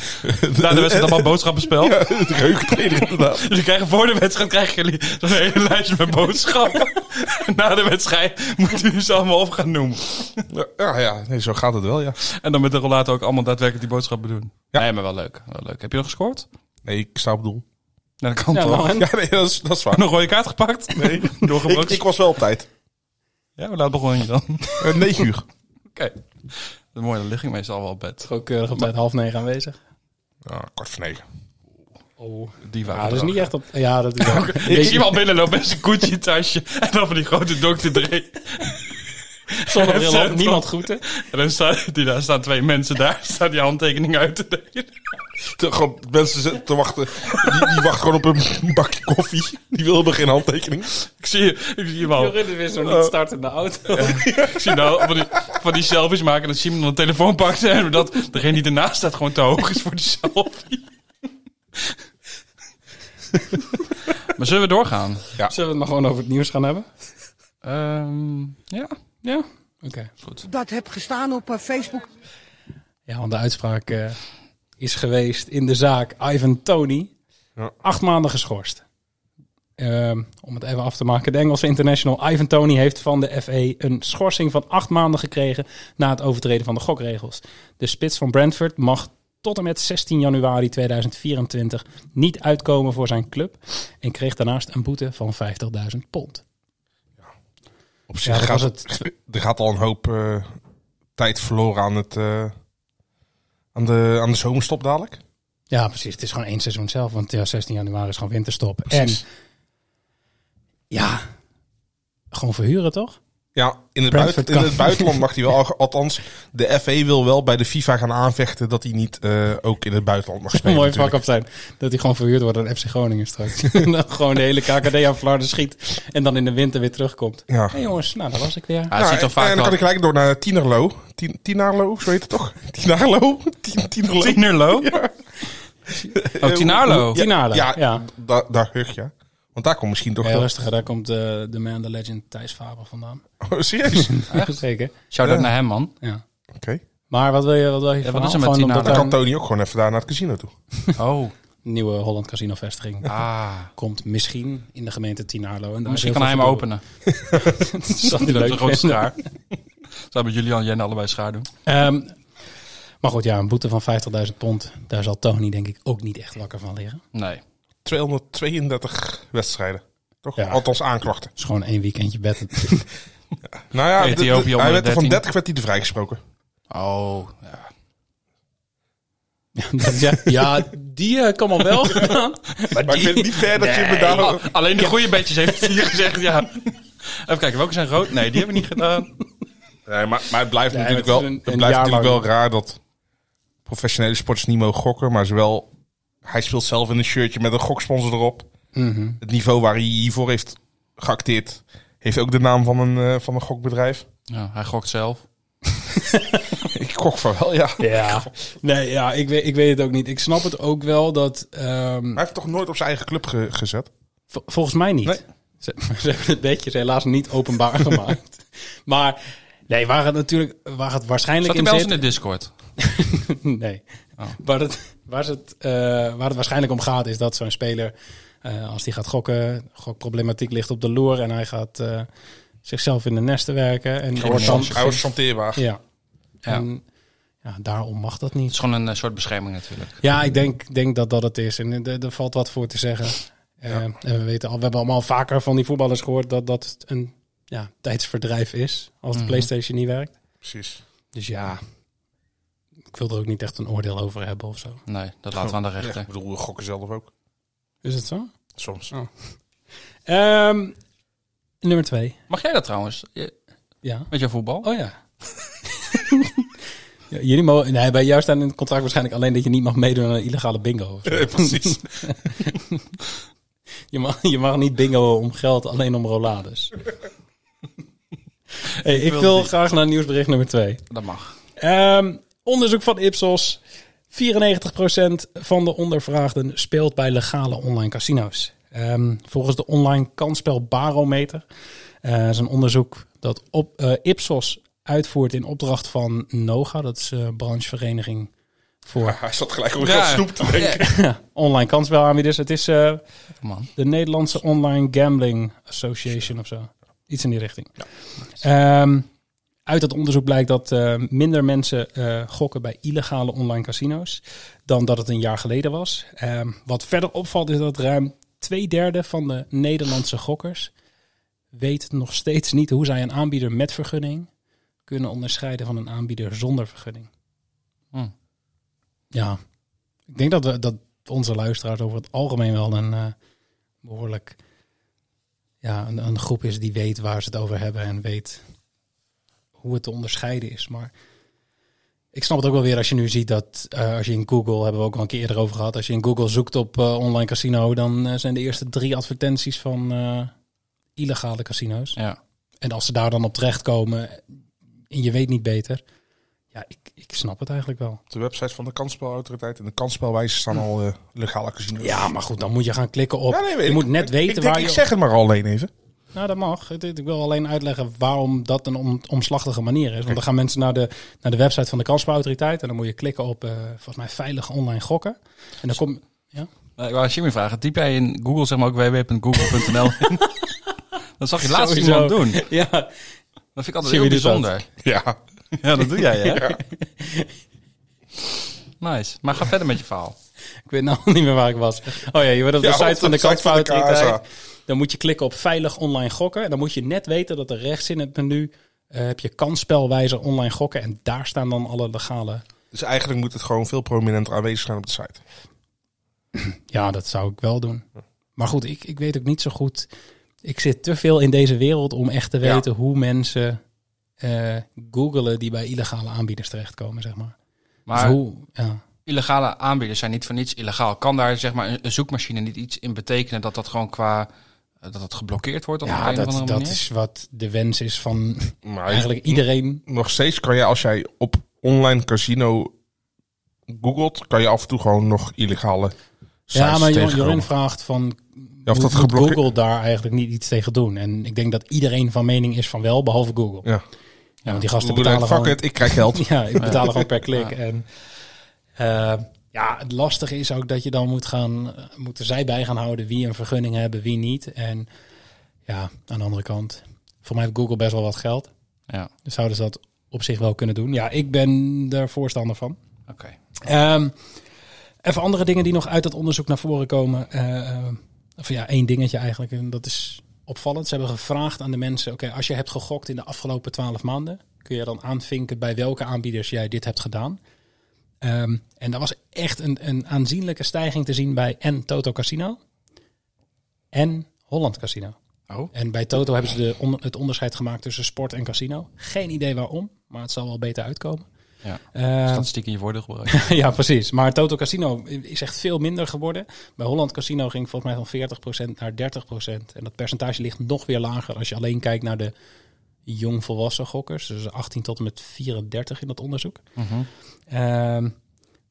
Speaker 8: Na de
Speaker 9: <laughs>
Speaker 8: <laughs> wedstrijd allemaal boodschappenspel.
Speaker 9: Ja, het reukentraining
Speaker 8: <laughs>
Speaker 9: inderdaad.
Speaker 8: Jullie krijgen Dus voor de wedstrijd krijgen jullie een hele lijstje met <laughs> boodschappen. En Na de wedstrijd moeten jullie ze allemaal op gaan noemen.
Speaker 9: Ja, ja nee, zo gaat het wel, ja.
Speaker 8: En dan met de rollator ook allemaal daadwerkelijk die boodschappen doen.
Speaker 9: Ja.
Speaker 8: Nee, maar wel leuk. wel leuk. Heb je nog gescoord?
Speaker 9: Nee, ik sta op doel.
Speaker 8: Nou, dat kan
Speaker 7: Ja,
Speaker 8: toch?
Speaker 7: nou, en-
Speaker 9: Ja, nee, dat is, dat is waar.
Speaker 8: Nog rode kaart gepakt? <laughs> Nee.
Speaker 9: Ik,
Speaker 8: Doorgebroken?
Speaker 9: ik was wel op tijd.
Speaker 8: Ja, hoe laat begon je <laughs> dan? Oké.
Speaker 9: Eh, 9 uur.
Speaker 8: De mooie dan lig ik meestal wel op bed.
Speaker 7: Gewoon keurig op tijd eh, half negen aanwezig.
Speaker 9: Ja, kwart voor 9.
Speaker 7: Oh.
Speaker 8: Die waren
Speaker 7: Ja, dat is
Speaker 8: er
Speaker 7: niet echt op... Ja, <laughs> dat is wel.
Speaker 8: ook. Ik zie hem al binnenlopen met zijn koetje tasje. <laughs> En dan van die grote Dr. Dre.
Speaker 7: Zonder <laughs> bril
Speaker 8: <laughs> Zo,
Speaker 7: ook niemand groeten.
Speaker 8: En dan staan, die, daar staan twee mensen daar. <laughs> Staan die handtekening uit te delen.
Speaker 9: Te, gewoon mensen zitten te wachten. Die, die wachten gewoon op een bakje koffie. Die wilden geen handtekening.
Speaker 8: Ik zie, ik zie hem al.
Speaker 7: Jorin weer zo niet startende auto.
Speaker 8: Ik zie nou van die, van die selfies maken. Dat Simon dan een telefoon pakt. En dat degene die ernaast staat gewoon te hoog is voor die selfie. Maar zullen we doorgaan?
Speaker 7: Zullen we het maar gewoon over het nieuws gaan hebben?
Speaker 8: Ehm, ja.
Speaker 7: Ja. Oké.
Speaker 10: dat heb gestaan op eh, Facebook.
Speaker 7: Ja, want de uitspraak eh, is geweest in de zaak Ivan Tony.
Speaker 9: Ja.
Speaker 7: Acht maanden geschorst. Ehm, om het even af te maken. De Engelse international Ivan Tony heeft van de FE een schorsing van acht maanden gekregen na het overtreden van de gokregels. De spits van Brentford mag tot en met 16 januari 2024 niet uitkomen voor zijn club. En kreeg daarnaast een boete van 50.000 pond.
Speaker 9: Op
Speaker 7: Ja,
Speaker 9: zich
Speaker 7: dat
Speaker 9: gaat,
Speaker 7: was het.
Speaker 9: er gaat al een hoop eh, tijd verloren aan, het, eh, aan, de, aan de zomerstop dadelijk.
Speaker 7: Ja, precies. Het is gewoon één seizoen zelf. Want ja, 16 januari is gewoon winterstop. En ja, gewoon verhuren toch?
Speaker 9: Ja, in het,
Speaker 7: Brentford
Speaker 9: buiten, in
Speaker 7: kan.
Speaker 9: het buitenland mag
Speaker 7: <laughs>
Speaker 9: hij wel. al- Althans, de FE wil wel bij de FIFA gaan aanvechten dat hij niet eh, ook in het buitenland mag spelen.
Speaker 7: Mooi vak
Speaker 9: natuurlijk.
Speaker 7: op zijn. Dat hij gewoon verhuurd wordt aan FC Groningen <laughs> straks. En dan gewoon de hele KKD aan Vlaarden schiet. En dan in de winter weer terugkomt.
Speaker 9: Ja.
Speaker 7: Hé jongens, nou daar was ik weer.
Speaker 8: Ja, het
Speaker 9: Nou,
Speaker 8: ziet er vaak
Speaker 9: en dan
Speaker 8: wel-
Speaker 9: kan ik gelijk door naar Tienerlo. Tien, Tienerlo, zo heet het toch? <laughs> Tienerlo? Tien, Tienerlo?
Speaker 8: Tienerlo? Oh, Tinalo.
Speaker 7: Tinalo, ja.
Speaker 9: Ja, da- daar hug je. Want Want daar komt misschien toch...
Speaker 7: Heel
Speaker 9: wel-
Speaker 7: rustig, daar komt eh, de man, the legend Thijs Faber vandaan.
Speaker 9: Oh, serieus? <laughs> Oké.
Speaker 7: Zeker.
Speaker 8: Shout-out naar hem, man.
Speaker 7: Ja. Maar wat wil je, wat wil je
Speaker 8: wat
Speaker 7: van
Speaker 8: is er met
Speaker 7: Gewoon omdat
Speaker 8: Tina? Dat
Speaker 9: Dan
Speaker 7: daar
Speaker 9: kan
Speaker 7: een
Speaker 9: Tony ook gewoon even daar naar het casino toe.
Speaker 8: Oh,
Speaker 7: nieuwe Holland Casino vestiging
Speaker 8: ah.
Speaker 7: komt misschien in de gemeente Tinalo. En daar
Speaker 8: Misschien
Speaker 7: is
Speaker 8: kan hij
Speaker 7: heel
Speaker 8: hem
Speaker 7: veel
Speaker 8: openen.
Speaker 7: verdoren. Dat <laughs> zou hij
Speaker 8: Dat is een
Speaker 7: leuk
Speaker 8: grote
Speaker 7: vinden.
Speaker 8: schaar. Zou met Julian en Jen allebei schaar doen.
Speaker 7: Ehm, maar goed, ja, een boete van 50.000 pond. Daar zal Tony denk ik ook niet echt wakker van liggen.
Speaker 8: Nee.
Speaker 9: 232 wedstrijden. Toch?
Speaker 7: Ja.
Speaker 9: Althans aanklachten.
Speaker 7: Het is gewoon één weekendje bed.
Speaker 8: <laughs>
Speaker 9: Nou ja,
Speaker 8: Ethiopië
Speaker 9: de- de-
Speaker 8: onder
Speaker 9: hij
Speaker 8: de
Speaker 9: werd er van
Speaker 8: 13.
Speaker 9: 30 werd hij er vrijgesproken.
Speaker 8: Oh, ja.
Speaker 7: Dat- ja, ja, die eh, kan wel <laughs> wel gedaan.
Speaker 9: <laughs> Maar ik vind het niet fair dat je me daar...
Speaker 8: Oh, alleen de goede beetjes heeft hij hier gezegd, ja. Even kijken, welke zijn rood? Nee, die hebben we niet gedaan.
Speaker 9: Nee, maar, maar het blijft
Speaker 7: Nee, het
Speaker 9: natuurlijk, wel,
Speaker 7: is een-
Speaker 9: het
Speaker 7: een
Speaker 9: blijft
Speaker 7: jaar
Speaker 9: natuurlijk wel
Speaker 7: lang.
Speaker 9: raar dat professionele sporters niet mogen gokken. Maar zowel, hij speelt zelf in een shirtje met een goksponsor erop.
Speaker 7: Mhm.
Speaker 9: Het niveau waar hij hiervoor heeft geacteerd, heeft ook de naam van een, eh, van een gokbedrijf. <laughs>
Speaker 8: Ja, hij gokt zelf.
Speaker 9: Ik gok van wel, ja. Maar
Speaker 7: Ja, nee, ja ik, weet, ik weet het ook niet. Ik snap het ook wel dat... ehm,
Speaker 9: Hij heeft toch nooit op zijn eigen club ge- gezet?
Speaker 7: Vol- volgens mij niet.
Speaker 9: Nee.
Speaker 7: Ze, <laughs> ze hebben het bedjes helaas niet openbaar <laughs> gemaakt. Maar nee, waar het natuurlijk, waar het waarschijnlijk
Speaker 8: Zat
Speaker 7: in
Speaker 8: hij bij ons
Speaker 7: zit.
Speaker 8: in de Discord?
Speaker 7: <laughs> nee. Waar, het, waar, het, eh, waar het waarschijnlijk om gaat is dat zo'n speler, eh, als die gaat gokken, gokproblematiek ligt op de loer en hij gaat eh, zichzelf in de nesten werken. En wordt dan,
Speaker 9: Hij was chanteerbaar.
Speaker 7: ja.
Speaker 8: Ja.
Speaker 7: En, ja, daarom mag dat
Speaker 8: Het
Speaker 7: niet.
Speaker 8: is gewoon een eh, soort bescherming natuurlijk.
Speaker 7: Ja, ik denk, denk dat dat het is. En er, er valt wat voor te zeggen. Eh, En we weten al, we hebben allemaal vaker van die voetballers gehoord dat dat een ja, tijdsverdrijf is als de PlayStation niet werkt.
Speaker 9: Precies.
Speaker 7: Mhm. Dus ja, ik wil er ook niet echt een oordeel over hebben of zo.
Speaker 8: Nee, dat laten we aan de
Speaker 9: Ja,
Speaker 8: rechter.
Speaker 9: ik bedoel, we gokken zelf ook.
Speaker 7: Is het zo?
Speaker 9: Soms.
Speaker 7: Ehm, nummer twee.
Speaker 8: Mag jij dat trouwens? Je-
Speaker 7: Ja.
Speaker 8: Met jouw voetbal?
Speaker 7: Oh <laughs> ja. Ja, Jullie mogen, nee, bij jou staat in het contract waarschijnlijk alleen dat je niet mag meedoen aan een illegale bingo. Of zo.
Speaker 9: Precies.
Speaker 7: Je mag, je mag niet bingo om geld, alleen om <laughs> rolades. Hey, ik
Speaker 8: wil
Speaker 7: wil
Speaker 8: die.
Speaker 7: graag naar nieuwsbericht nummer 2.
Speaker 8: <laughs> Dat mag.
Speaker 7: Ehm, onderzoek van Ipsos. 94% van de ondervraagden speelt bij legale online casino's. Ehm, volgens de online kansspelbarometer. eh is een onderzoek dat op, eh, Ipsos uitvoert in opdracht van NOGA. Dat is eh branchevereniging voor
Speaker 9: Hij zat gelijk op
Speaker 8: Ja.
Speaker 9: heel snoep te denken.
Speaker 7: online kansspelaanbieders. Het is eh,
Speaker 8: Man.
Speaker 7: de Nederlandse Online Gambling Association of zo. Iets in die richting. Ehm, uit dat onderzoek blijkt dat eh, minder mensen eh, gokken bij illegale online casino's dan dat het een jaar geleden was. Ehm, wat verder opvalt is dat ruim twee derde van de Nederlandse gokkers weet nog steeds niet hoe zij een aanbieder met vergunning kunnen onderscheiden van een aanbieder zonder vergunning.
Speaker 8: Hmm.
Speaker 7: Ja, ik denk dat, we, dat onze luisteraars over het algemeen wel een eh, behoorlijk ja, een, een groep is die weet waar ze het over hebben en weet hoe het te onderscheiden is. Maar ik snap het ook wel weer als je nu ziet dat eh, als je in Google, hebben we ook al een keer eerder over gehad, als je in Google zoekt op eh, online casino, dan eh, zijn de eerste drie advertenties van eh, illegale casino's.
Speaker 8: Ja.
Speaker 7: En als ze daar dan op terechtkomen en je weet niet beter, ja, ik, ik snap het eigenlijk wel.
Speaker 9: Op de website van de kansspelautoriteit en de kansspelwijze staan al eh, legale casinos.
Speaker 7: Ja, maar goed, dan moet je gaan klikken op.
Speaker 9: Ja, nee, weet
Speaker 7: je
Speaker 9: ik.
Speaker 7: moet net
Speaker 9: Ik-
Speaker 7: weten
Speaker 9: ik denk,
Speaker 7: waar je...
Speaker 9: Ik zeg het maar alleen even.
Speaker 7: Nou, dat mag. Ik ik wil alleen uitleggen waarom dat een om- omslachtige manier is. Want dan gaan mensen naar de, naar de website van de kansspelautoriteit en dan moet je klikken op, eh, volgens mij, veilig online gokken. En dan kom...
Speaker 8: Nou, Ik wou aan Jimmy vragen. Typ jij in Google zeg maar ook www.google.nl in? <laughs> Dat zag je laatst
Speaker 7: Sowieso.
Speaker 8: iemand doen.
Speaker 7: <laughs> Ja,
Speaker 8: Dat vind ik altijd
Speaker 7: Jimmy
Speaker 8: heel
Speaker 7: doet dat.
Speaker 8: bijzonder.
Speaker 9: Ja.
Speaker 8: Ja, dat doe jij,
Speaker 9: <laughs>
Speaker 8: hè? Nice. Maar ga verder met je verhaal.
Speaker 7: ik weet nou niet meer waar ik was. Oh ja, je wordt op de
Speaker 9: Ja,
Speaker 7: site
Speaker 9: op
Speaker 7: van de
Speaker 9: de site van de
Speaker 7: kansspelautoriteit.
Speaker 9: KSA.
Speaker 7: Dan moet je klikken op veilig online gokken. En dan moet je net weten dat er rechts in het menu eh, heb je kansspelwijzer online gokken. En daar staan dan alle legale...
Speaker 9: Dus eigenlijk moet het gewoon veel prominenter aanwezig zijn op de site.
Speaker 7: Ja, dat zou ik wel doen. Maar goed, ik, ik weet ook niet zo goed. Ik zit te veel in deze wereld om echt te
Speaker 9: Ja.
Speaker 7: weten hoe mensen eh googelen die bij illegale aanbieders terechtkomen, zeg maar.
Speaker 8: Maar
Speaker 7: Dus hoe, ja.
Speaker 8: illegale aanbieders zijn niet voor niets illegaal. Kan daar zeg maar een, een zoekmachine niet iets in betekenen dat dat gewoon qua eh, dat het geblokkeerd wordt op
Speaker 7: ja
Speaker 8: een of
Speaker 7: dat,
Speaker 8: andere
Speaker 7: dat
Speaker 8: manier?
Speaker 7: is wat de wens is van
Speaker 9: Maar
Speaker 7: eigenlijk iedereen.
Speaker 9: nog steeds kan je als jij op online casino googelt, kan je af en toe gewoon nog illegale sites
Speaker 7: Ja, maar Jor-
Speaker 9: tegenkomen.
Speaker 7: Jorin vraagt van
Speaker 9: Ja, of dat
Speaker 7: moet
Speaker 9: geblokkeerd-
Speaker 7: Google daar eigenlijk niet iets tegen doen. En ik denk dat iedereen van mening is van wel, behalve Google.
Speaker 9: Ja.
Speaker 7: Ja, want die gasten
Speaker 9: Google denkt,
Speaker 7: betalen
Speaker 9: fuck
Speaker 7: gewoon...
Speaker 9: it, ik krijg
Speaker 7: <laughs>
Speaker 9: geld.
Speaker 7: Ja, ik betaal gewoon per klik. En, eh, ja, het lastige is ook dat je dan moet gaan, moeten zij bij gaan houden wie een vergunning hebben, wie niet. En ja, aan de andere kant, voor mij heeft Google best wel wat geld.
Speaker 8: Ja,
Speaker 7: Dus zouden ze dat op zich wel kunnen doen. Ja, ik ben er voorstander van.
Speaker 8: oké.
Speaker 7: Ehm, even andere dingen die nog uit dat onderzoek naar voren komen. Eh, eh, of ja, één dingetje eigenlijk. En dat is opvallend. Ze hebben gevraagd aan de mensen: oké, als je hebt gegokt in de afgelopen twaalf maanden, kun je dan aanvinken bij welke aanbieders jij dit hebt gedaan. Ehm, en daar was echt een, een aanzienlijke stijging te zien bij en Toto Casino en Holland Casino.
Speaker 8: Oh.
Speaker 7: En bij Toto hebben ze de on- het onderscheid gemaakt tussen sport en casino. Geen idee waarom, maar het zal wel beter uitkomen.
Speaker 8: Ja.
Speaker 7: Ehm,
Speaker 8: Statistiek in je voordeel
Speaker 7: <laughs>
Speaker 8: gebruiken. <laughs>
Speaker 7: ja, precies. Maar Toto Casino is echt veel minder geworden. Bij Holland Casino ging volgens mij van 40% naar 30%. En dat percentage ligt nog weer lager als je alleen kijkt naar de jongvolwassen gokkers. Dus 18 tot en met 34 in dat onderzoek.
Speaker 8: Mhm.
Speaker 7: Ehm,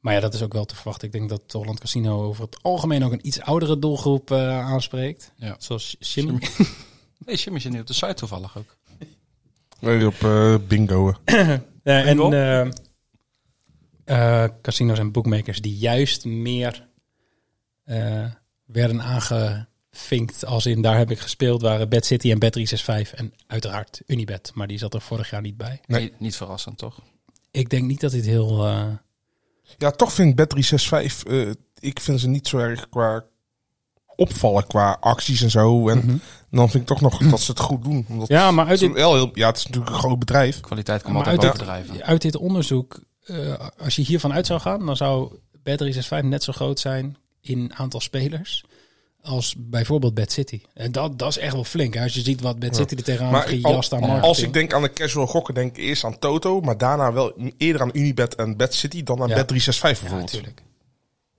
Speaker 7: maar ja, dat is ook wel te verwachten. Ik denk dat Holland Casino over het algemeen ook een iets oudere doelgroep eh, aanspreekt.
Speaker 8: Ja.
Speaker 7: Zoals Jimmy.
Speaker 8: Nee, Jimmy zit niet op de site toevallig ook.
Speaker 9: Nee, op eh, bingo.
Speaker 7: Ja, en
Speaker 8: Rob?
Speaker 7: eh, eh, casinos en bookmakers die juist meer eh, werden aangevinkt als in daar heb ik gespeeld waren Bad City en Bad 365 en uiteraard Unibet, maar die zat er vorig jaar niet bij.
Speaker 9: Nee.
Speaker 8: Niet, niet verrassend, toch?
Speaker 7: Ik denk niet dat dit heel... eh,
Speaker 9: Ja, toch vind ik Bet365, eh, ik vind ze niet zo erg qua opvallen, qua acties en zo. En dan vind ik toch nog dat ze het goed doen. Omdat
Speaker 7: Mhm. Ja, maar uit
Speaker 9: het, is
Speaker 7: dit,
Speaker 9: wel heel, ja, het is natuurlijk een groot bedrijf.
Speaker 8: Kwaliteit kan
Speaker 7: Maar
Speaker 8: altijd
Speaker 7: uit-
Speaker 8: overdrijven.
Speaker 7: uit dit onderzoek, eh, als je hiervan uit zou gaan, dan zou Bad 365 net zo groot zijn in aantal spelers als bijvoorbeeld Bad City. En dat, dat is echt wel flink. hè, Als je ziet wat Bad City er tegenaan
Speaker 9: Maar ik- al-
Speaker 7: gejast aan
Speaker 9: als,
Speaker 7: marketing.
Speaker 9: ik denk aan de casual gokken, denk ik eerst aan Toto, maar daarna wel eerder aan Unibet en Bad City dan aan
Speaker 7: Ja.
Speaker 9: Bet365
Speaker 7: Ja,
Speaker 9: bijvoorbeeld.
Speaker 7: natuurlijk.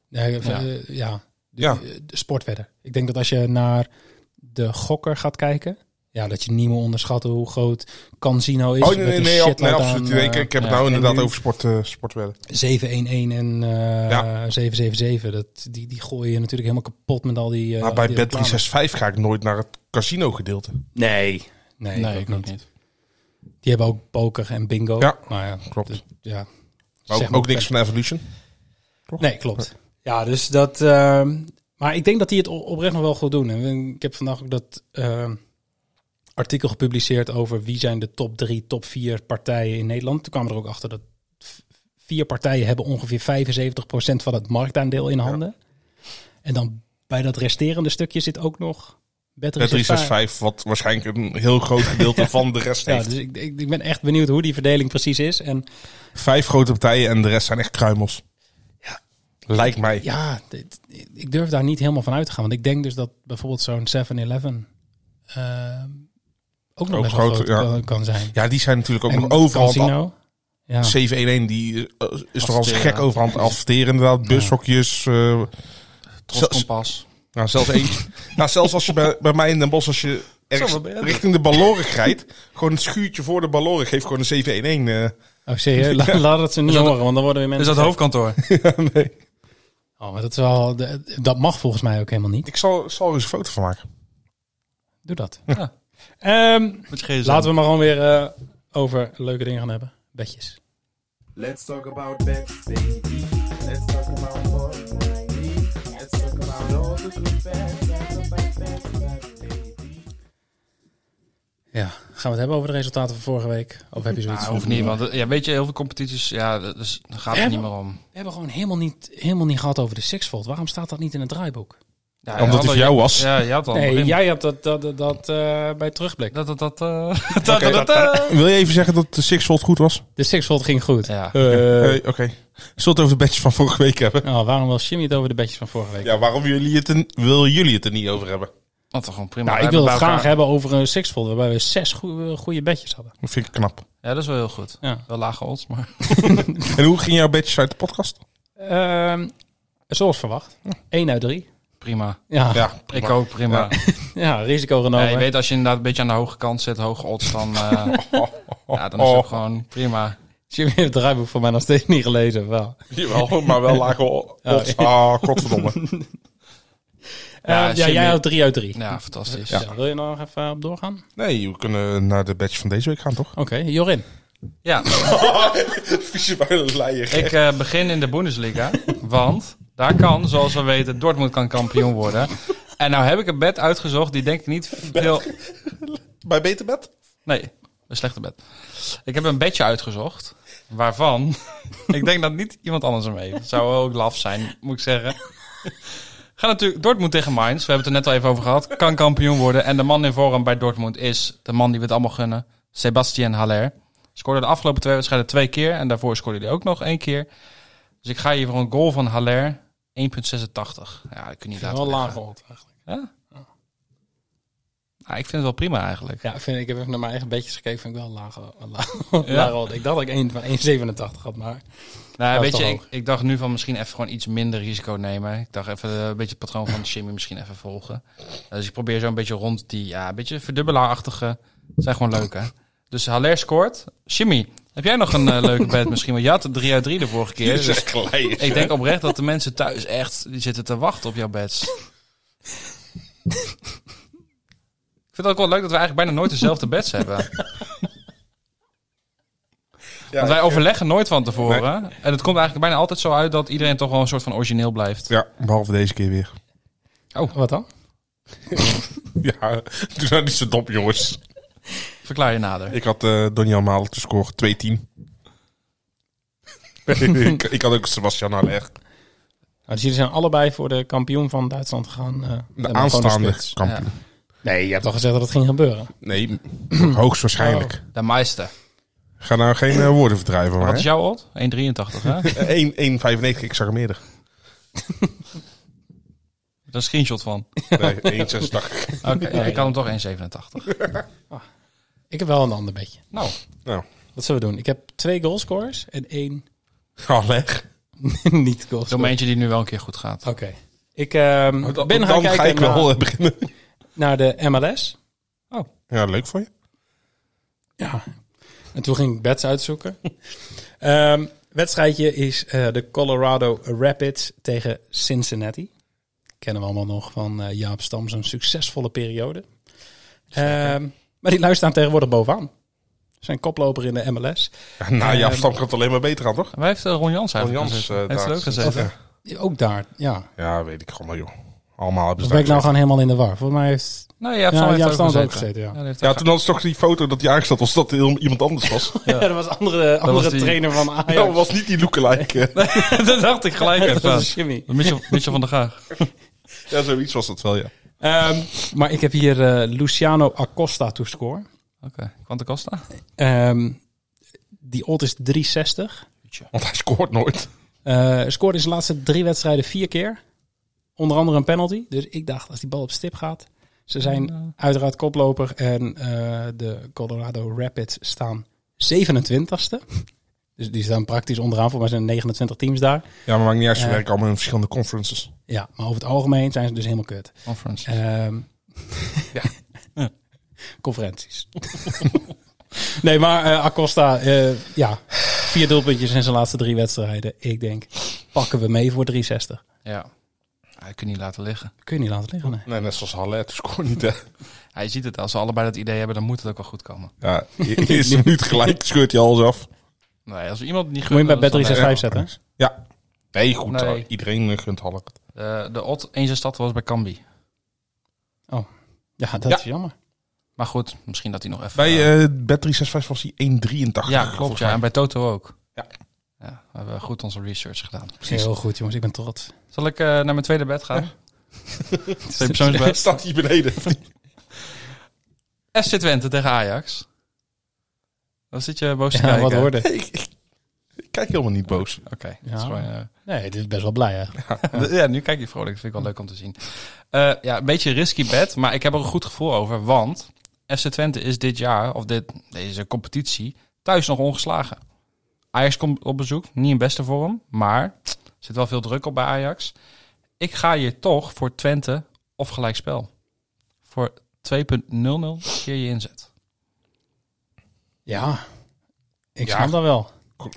Speaker 7: Nee, eh,
Speaker 8: Ja.
Speaker 7: eh, ja. De,
Speaker 9: Ja.
Speaker 7: eh, de sportwedden. Ik denk dat als je naar de gokker gaat kijken, ja, dat je niet meer onderschat hoe groot Casino is.
Speaker 9: oh nee,
Speaker 7: met
Speaker 9: nee,
Speaker 7: een
Speaker 9: nee, ab- nee,
Speaker 7: shitload
Speaker 9: absoluut.
Speaker 7: aan,
Speaker 9: Nee, ik,
Speaker 7: eh,
Speaker 9: ik heb het
Speaker 8: ja,
Speaker 9: nou inderdaad
Speaker 7: nu-
Speaker 9: over sport, eh, sportwedden.
Speaker 7: 711 en eh,
Speaker 9: Ja.
Speaker 7: 777. Dat, die, die gooi je natuurlijk helemaal kapot met al die. eh,
Speaker 9: maar bij
Speaker 7: die reclames.
Speaker 9: Bet365 ga ik nooit naar het casino gedeelte.
Speaker 7: Nee. Nee,
Speaker 8: Nee,
Speaker 7: ik
Speaker 8: ik
Speaker 7: ook
Speaker 8: ook
Speaker 7: niet.
Speaker 8: niet.
Speaker 7: Die hebben ook poker en bingo.
Speaker 9: Ja,
Speaker 7: nou ja
Speaker 9: klopt.
Speaker 7: dat- ja.
Speaker 9: Maar
Speaker 7: Zeg
Speaker 9: ook,
Speaker 7: maar
Speaker 9: ook niks van Evolution.
Speaker 7: Nee, klopt. Ja, dus dat. ehm, maar ik denk dat die het o- oprecht nog wel goed doen. En ik heb vandaag ook dat ehm, artikel gepubliceerd over wie zijn de top drie, top vier partijen in Nederland. Toen kwam er ook achter dat v- vier partijen hebben ongeveer 75% van het marktaandeel in handen. En dan bij dat resterende stukje zit ook nog Bet365.
Speaker 9: Bet365, wat waarschijnlijk een heel groot gedeelte
Speaker 7: <laughs>
Speaker 9: van de rest
Speaker 7: Ja,
Speaker 9: heeft.
Speaker 7: dus ik, ik, ik ben echt benieuwd hoe die verdeling precies is. En
Speaker 9: Vijf grote partijen en de rest zijn echt kruimels. Lijkt mij.
Speaker 7: Ja, dit- ik durf daar niet helemaal van uit te gaan. Want ik denk dus dat bijvoorbeeld zo'n 7-Eleven eh, ook nog
Speaker 9: Ook
Speaker 7: best wel groot
Speaker 9: groot, ja.
Speaker 7: kan, kan zijn.
Speaker 9: Ja, die zijn natuurlijk ook
Speaker 7: En
Speaker 9: nog overal.
Speaker 7: Casino. Ja.
Speaker 9: 711, die eh, is toch als
Speaker 8: Adverteren.
Speaker 9: gek overhand adverteren inderdaad. Bushokjes. eh,
Speaker 8: Troskompas.
Speaker 9: nou, zelfs
Speaker 7: <laughs>
Speaker 8: <laughs>
Speaker 9: eentje. nou, zelfs als je bij, bij mij in Den Bosch, als je ergens
Speaker 8: wat ben jij?
Speaker 9: richting de Balorig rijdt, gewoon het schuurtje voor de Balorig geeft gewoon een 711. eh
Speaker 7: Oh,
Speaker 9: <laughs>
Speaker 7: serieus? La- Laat het ze niet
Speaker 8: Is dat-
Speaker 7: horen, want dan worden weer
Speaker 8: Is
Speaker 7: mensen...
Speaker 8: dat hoofdkantoor?
Speaker 7: Oh, maar dat, is wel, de- dat mag volgens mij ook helemaal niet.
Speaker 9: ik zal, zal er eens een foto van maken.
Speaker 7: Doe dat.
Speaker 8: Ja.
Speaker 7: Ehm,
Speaker 8: Met je
Speaker 7: laten we maar gewoon weer eh, over leuke dingen gaan hebben. Bedjes.
Speaker 4: Let's talk about bets, baby. Let's talk about sports, baby. Let's talk about all the good bets. Let's talk about bets, baby.
Speaker 7: Ja, gaan we het hebben over de resultaten van vorige week? Of heb je zoiets?
Speaker 8: Nou, hoeft niet, want eh, ja, weet je, heel veel competities, ja, dat- dus daar gaat het
Speaker 7: Ja,
Speaker 8: niet meer om.
Speaker 7: We hebben gewoon helemaal niet, helemaal niet gehad over de Sixfold. Waarom staat dat niet in het draaiboek?
Speaker 8: Ja,
Speaker 9: Omdat
Speaker 8: je had
Speaker 9: het
Speaker 8: al-
Speaker 9: jou was.
Speaker 8: Ja, je had al.
Speaker 7: Nee,
Speaker 8: begin-
Speaker 7: jij hebt dat, dat, dat, dat, eh, bij terugblik.
Speaker 8: Dat, dat, dat, eh, <laughs>
Speaker 9: Oké.
Speaker 8: dat, dat, dat.
Speaker 9: Wil je even zeggen dat de Sixfold goed was?
Speaker 7: De Sixfold ging goed.
Speaker 8: Ja.
Speaker 7: Eh,
Speaker 8: <laughs>
Speaker 9: Hey, Oké. Zullen we het over de badges van vorige week hebben?
Speaker 7: nou, waarom wil Jimmy het over de bedjes van vorige week?
Speaker 9: Ja, waarom jullie het er, wil jullie het er niet over hebben?
Speaker 8: Want er gewoon prima.
Speaker 7: nou,
Speaker 8: We
Speaker 7: ik wil het
Speaker 8: hebben bij
Speaker 7: graag
Speaker 8: elkaar-
Speaker 7: hebben over een Sixfold waarbij we zes goede, goede bedjes hadden.
Speaker 9: Dat vind ik knap.
Speaker 8: Ja, dat is wel heel goed.
Speaker 7: Ja.
Speaker 8: Wel lage odds, maar... <laughs>
Speaker 9: En hoe ging jouw badges uit de podcast?
Speaker 7: Ehm, zoals verwacht. 1 uit 3.
Speaker 8: Prima.
Speaker 7: Ja, <laughs> ja.
Speaker 9: Ja, Nou,
Speaker 8: Ik ook, prima.
Speaker 7: risico
Speaker 8: Ja,
Speaker 7: genomen.
Speaker 8: je weet, als je inderdaad een beetje aan de hoge kant zit, hoge odds,
Speaker 9: <laughs>
Speaker 8: dan, eh, ja, dan is
Speaker 9: Oh.
Speaker 8: het ook gewoon prima.
Speaker 7: Jimmy heeft het draaiboek voor mij nog steeds niet gelezen. Wel.
Speaker 9: Jawel, maar wel lage o- odds. Ah, godverdomme.
Speaker 8: Ja,
Speaker 7: Eh, ja, jij
Speaker 8: Jimmy.
Speaker 7: had 3 uit 3.
Speaker 8: Ja, fantastisch.
Speaker 7: Ja, wil je nog even eh, op doorgaan? Oké,
Speaker 9: Nee, we kunnen naar de badge van deze week gaan, toch?
Speaker 7: Jorin.
Speaker 8: Ja,
Speaker 9: Visuele leier.
Speaker 8: ik eh, begin in de Bundesliga. Want daar kan, zoals we weten, Dortmund kan kampioen worden. En nou heb ik een bed uitgezocht die denk ik niet veel...
Speaker 9: Bij Beterbed?
Speaker 8: Nee, een slechte bed. Ik heb een bedje uitgezocht. Waarvan <laughs> ik denk dat niet iemand anders hem heeft. Zou ook laf zijn, moet ik zeggen. Ga natuurlijk Dortmund tegen Mainz. We hebben het er net al even over gehad. Kan kampioen worden. En de man in vorm bij Dortmund is de man die we het allemaal gunnen. Sebastian Haller. Scoorde de afgelopen twee wedstrijden twee keer. En daarvoor scoorde hij ook nog één keer. Dus ik ga hier voor een goal van Haller. 1,86. Ja, dat kun je niet laten
Speaker 7: Wel laag
Speaker 8: liggen.
Speaker 7: gehold eigenlijk.
Speaker 8: Nou, ik vind het wel prima eigenlijk.
Speaker 7: Ja, ik vind, ik heb even naar mijn eigen bedjes gekeken. Vind ik wel laag, eh, laag,
Speaker 8: Ja?
Speaker 7: <laughs> laag gehold. Ik dacht dat ik één van 1,87 had, maar... Dat
Speaker 8: Nou,
Speaker 7: is
Speaker 8: weet je,
Speaker 7: toch
Speaker 8: ik,
Speaker 7: hoog?
Speaker 8: ik dacht nu van misschien even gewoon iets minder risico nemen. Ik dacht even eh, een beetje het patroon van Jimmy misschien even volgen. Eh, Dus ik probeer zo een beetje rond die, ja, een beetje verdubbelaarachtige. Zijn gewoon leuk, hè? Dus Haller scoort. Jimmy, heb jij nog een eh, leuke bet misschien? Want je had 3 uit 3 de
Speaker 7: <laughs>
Speaker 8: vorige keer.
Speaker 9: Dit is
Speaker 8: Dus
Speaker 9: echt leier.
Speaker 8: ik denk oprecht dat de mensen thuis echt die zitten te wachten op jouw bets. ik vind het ook wel leuk dat we eigenlijk bijna nooit dezelfde bets hebben.
Speaker 9: Ja,
Speaker 8: Want wij
Speaker 9: ik-
Speaker 8: overleggen nooit van tevoren. En het komt eigenlijk bijna altijd zo uit dat iedereen toch wel een soort van origineel blijft.
Speaker 9: Ja, behalve deze keer weer.
Speaker 7: Oh, wat dan?
Speaker 9: Ja, doe nou niet zo dom, jongens.
Speaker 8: Verklaar je nader.
Speaker 9: Ik had eh Donjan Malen te scoren 2-10. <laughs> ik, ik had ook Sebastian Haller.
Speaker 7: Nou, dus jullie zijn allebei voor de kampioen van Duitsland gegaan. eh, en dan
Speaker 9: De
Speaker 7: gewoon
Speaker 9: aanstaande
Speaker 7: spits.
Speaker 9: kampioen.
Speaker 7: Nee, je hebt al gezegd dat het ging gebeuren.
Speaker 9: Nee, <clears throat> hoogstwaarschijnlijk.
Speaker 8: De meester.
Speaker 9: Ga nou geen eh, woorden verdrijven,
Speaker 8: Wat
Speaker 9: maar.
Speaker 8: is jouw odd? 1,83
Speaker 9: hè?
Speaker 8: hè?
Speaker 9: Eh, 1 1,95, ik zag hem <laughs> eerder.
Speaker 8: Daar is een screenshot van.
Speaker 9: Nee, 1,86.
Speaker 8: Oké, ja, ik had hem toch 1,87.
Speaker 7: Ik heb wel een ander bedje.
Speaker 8: Nou,
Speaker 7: Wat zullen we doen? Ik heb twee goalscorers en één <laughs>
Speaker 9: Haller.
Speaker 7: niet goalscorer.
Speaker 8: zo'n eentje die nu wel een keer goed gaat.
Speaker 7: Oké. Ik ehm,
Speaker 9: Nou, Dan,
Speaker 7: ben gaan
Speaker 9: dan
Speaker 7: kijken
Speaker 9: ga ik
Speaker 7: naar,
Speaker 9: wel eh, beginnen.
Speaker 7: naar de MLS.
Speaker 9: Ja, leuk voor je.
Speaker 7: Ja. En toen ging ik bets uitzoeken. Ehm, wedstrijdje is eh, de Colorado Rapids tegen Cincinnati. Kennen we allemaal nog van eh, Jaap Stam, zo'n succesvolle periode. Ehm, maar die luisteren tegenwoordig bovenaan. Zijn koploper in de MLS.
Speaker 9: Ja, nou, ja,
Speaker 7: Ehm,
Speaker 9: Stam gaat alleen maar beter aan, toch?
Speaker 8: Wij heeft eh, Ron Jans
Speaker 9: Van
Speaker 8: eigenlijk
Speaker 9: Jans
Speaker 8: gezet.
Speaker 9: eh,
Speaker 8: Heeft
Speaker 9: daar
Speaker 8: het
Speaker 9: zit.
Speaker 8: ook gezet. hè?
Speaker 9: Ja.
Speaker 7: Ook daar, ja.
Speaker 9: Ja, weet ik gewoon wel, joh. Allemaal hebben
Speaker 7: Dus
Speaker 9: ze
Speaker 7: ben ik
Speaker 9: daar
Speaker 7: nou gewoon helemaal in de war. Volgens mij heeft
Speaker 8: Nee, Jaap
Speaker 7: Ja,
Speaker 8: Stam heeft
Speaker 7: Jaap
Speaker 8: het
Speaker 7: Stam
Speaker 8: ook
Speaker 7: heeft
Speaker 8: gezeten.
Speaker 7: ook gezeten, ja.
Speaker 8: die heeft
Speaker 9: Ja,
Speaker 8: ook-
Speaker 9: toen hadden ze toch die foto dat hij aangesteld was dat heel iemand anders was.
Speaker 7: Ja, <laughs> dat was andere, andere
Speaker 8: was die-
Speaker 7: trainer van Ajax.
Speaker 9: <laughs> Dat was niet die lookalike. eh.
Speaker 8: <laughs> dat dacht ik gelijk
Speaker 7: dat
Speaker 8: even.
Speaker 7: was Jimmy.
Speaker 8: Mitchell, Mitchell van der
Speaker 9: <laughs>
Speaker 8: Gaag.
Speaker 9: Ja, zoiets was dat wel, ja.
Speaker 7: Ehm, maar ik heb hier eh, Luciano Acosta to score.
Speaker 8: Oké, Quanta Costa.
Speaker 7: Ehm, die odd is 360.
Speaker 9: Want hij scoort nooit.
Speaker 7: Eh scoorde in zijn laatste drie wedstrijden vier keer. Onder andere een penalty. Dus ik dacht, als die bal op stip gaat... Ze zijn uiteraard koploper. En eh, de Colorado Rapids staan 27ste. Dus die staan praktisch onderaan. Volgens mij zijn er 29 teams daar.
Speaker 9: Ja, maar maakt niet uit, ze
Speaker 7: Eh.
Speaker 9: werken allemaal in verschillende conferences.
Speaker 7: Ja, maar over het algemeen zijn ze dus helemaal kut.
Speaker 8: Conference. <laughs>
Speaker 7: Ehm <laughs> Conferenties. <laughs> nee, maar eh, Acosta, eh, ja, vier doelpuntjes in zijn laatste drie wedstrijden. Ik denk, pakken we mee voor 360.
Speaker 8: Ja. Hij kunt niet laten liggen.
Speaker 7: Kun je niet laten liggen, nee.
Speaker 9: Nee, net zoals Haller, het scoort niet, hè.
Speaker 8: Hij ziet het. Als ze allebei dat idee hebben, dan moet het ook wel goed komen.
Speaker 9: <laughs> Ja, i- is hem niet gelijk, scheurt hij alles af.
Speaker 8: Nee, als we iemand niet
Speaker 7: Moet je
Speaker 8: gunnen...
Speaker 7: bij bed
Speaker 8: dan is dat
Speaker 7: 365 zetten. hè?
Speaker 9: Ja. Nee, goed,
Speaker 8: Nee.
Speaker 9: hoor. iedereen eh, gunt Haller. het.
Speaker 8: De, Eh, de odd 1,86 was bij Cambi.
Speaker 7: Ja, dat
Speaker 9: Ja.
Speaker 7: is jammer.
Speaker 8: Maar goed, misschien dat hij nog even...
Speaker 9: Bij
Speaker 8: eh,
Speaker 9: eh Bet365 was hij 1,83.
Speaker 8: ja, klopt. Ja, en bij Toto ook.
Speaker 9: Ja.
Speaker 8: ja. We hebben goed onze research gedaan.
Speaker 7: Heel goed, jongens. Ik ben trots.
Speaker 8: Zal ik eh, naar mijn tweede bed gaan? <laughs> Twee <laughs> persoonsbed.
Speaker 9: Staat hier beneden.
Speaker 8: FC Twente tegen Ajax. Dan zit je boos te
Speaker 7: Ja,
Speaker 8: kijken.
Speaker 7: wat hoorde.
Speaker 9: Ik Kijk helemaal niet boos.
Speaker 8: Oké. dat
Speaker 7: Ja.
Speaker 8: is gewoon, eh,
Speaker 7: Nee, dit is best wel blij, eigenlijk.
Speaker 8: Ja. nu kijk je vrolijk. Dat vind ik wel leuk om te zien. Eh, ja, een beetje een risky bet, maar ik heb er een goed gevoel over. Want FC Twente is dit jaar, of dit, deze competitie, thuis nog ongeslagen. Ajax komt op bezoek, niet in beste vorm, maar er zit wel veel druk op bij Ajax. Ik ga hier toch voor Twente of gelijkspel. Voor 2.00 keer je inzet.
Speaker 7: Ja, ik
Speaker 8: Ja.
Speaker 7: snap dat wel.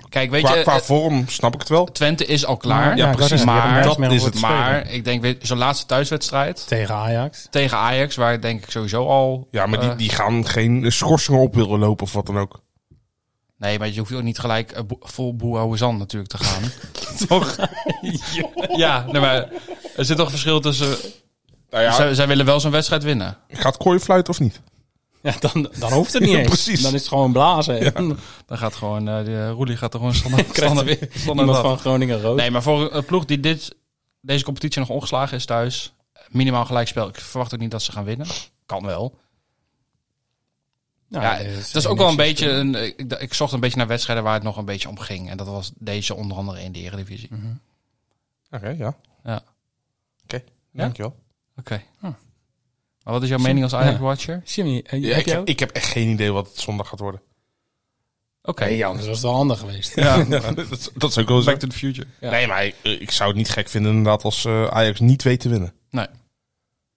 Speaker 8: Kijk, weet
Speaker 9: Qua,
Speaker 8: je,
Speaker 9: qua
Speaker 8: eh,
Speaker 9: vorm snap ik het wel.
Speaker 8: Twente is al klaar.
Speaker 9: Ja,
Speaker 7: ik wou
Speaker 9: precies.
Speaker 7: zeggen, die hebben
Speaker 8: Maar
Speaker 7: thuis meer
Speaker 9: dat is
Speaker 7: hoeven te
Speaker 8: Maar
Speaker 7: spelen.
Speaker 8: ik denk, weet je, zo'n laatste thuiswedstrijd
Speaker 7: Tegen Ajax.
Speaker 8: tegen Ajax, waar denk ik sowieso al...
Speaker 9: Ja, maar die,
Speaker 8: eh,
Speaker 9: die gaan geen eh, schorsingen op willen lopen of wat dan ook.
Speaker 8: Nee, maar je hoeft ook niet gelijk eh, bo- vol boehouden natuurlijk te gaan. toch? ja, nee, maar er zit toch een verschil tussen...
Speaker 9: Nou ja,
Speaker 8: Zij, zij willen wel zo'n wedstrijd winnen.
Speaker 9: gaat Kooi fluiten of niet?
Speaker 7: Ja, dan, dan hoeft
Speaker 8: <laughs>
Speaker 7: het niet eens.
Speaker 9: Precies.
Speaker 7: Dan is het gewoon blazen. Dan
Speaker 8: Dan gaat gewoon, eh de Roelie gaat er gewoon standaard,
Speaker 7: krijgt
Speaker 8: standaard, standaard,
Speaker 7: iemand
Speaker 8: af.
Speaker 7: van Groningen rood.
Speaker 8: Nee, maar voor een ploeg die dit, deze competitie nog ongeslagen is thuis, minimaal gelijkspel. Ik verwacht ook niet dat ze gaan winnen. Kan wel.
Speaker 7: Nou,
Speaker 8: ja,
Speaker 7: er
Speaker 8: dat is ook wel een beetje. Een, ik, ik zocht een beetje naar wedstrijden waar het nog een beetje om ging. En dat was deze onder andere in de Eredivisie. Oké.
Speaker 9: Oké, ja.
Speaker 8: Ja.
Speaker 9: Oké, dankjewel.
Speaker 7: Hm.
Speaker 8: Maar wat is jouw mening als Ajax-watcher?
Speaker 7: Jimmy, eh,
Speaker 9: Ja,
Speaker 7: heb
Speaker 9: ik,
Speaker 7: jij
Speaker 9: heb,
Speaker 7: ook?
Speaker 9: ik heb echt geen idee wat het zondag gaat worden.
Speaker 8: Oké.
Speaker 7: Nee, anders was het wel handig <laughs> geweest.
Speaker 9: Ja, <laughs> dat, dat is ook wel zo.
Speaker 8: Back to the future.
Speaker 7: Ja.
Speaker 9: Nee, maar ik, eh, ik zou het niet gek vinden inderdaad als eh, Ajax niet weet te winnen.
Speaker 8: Nee.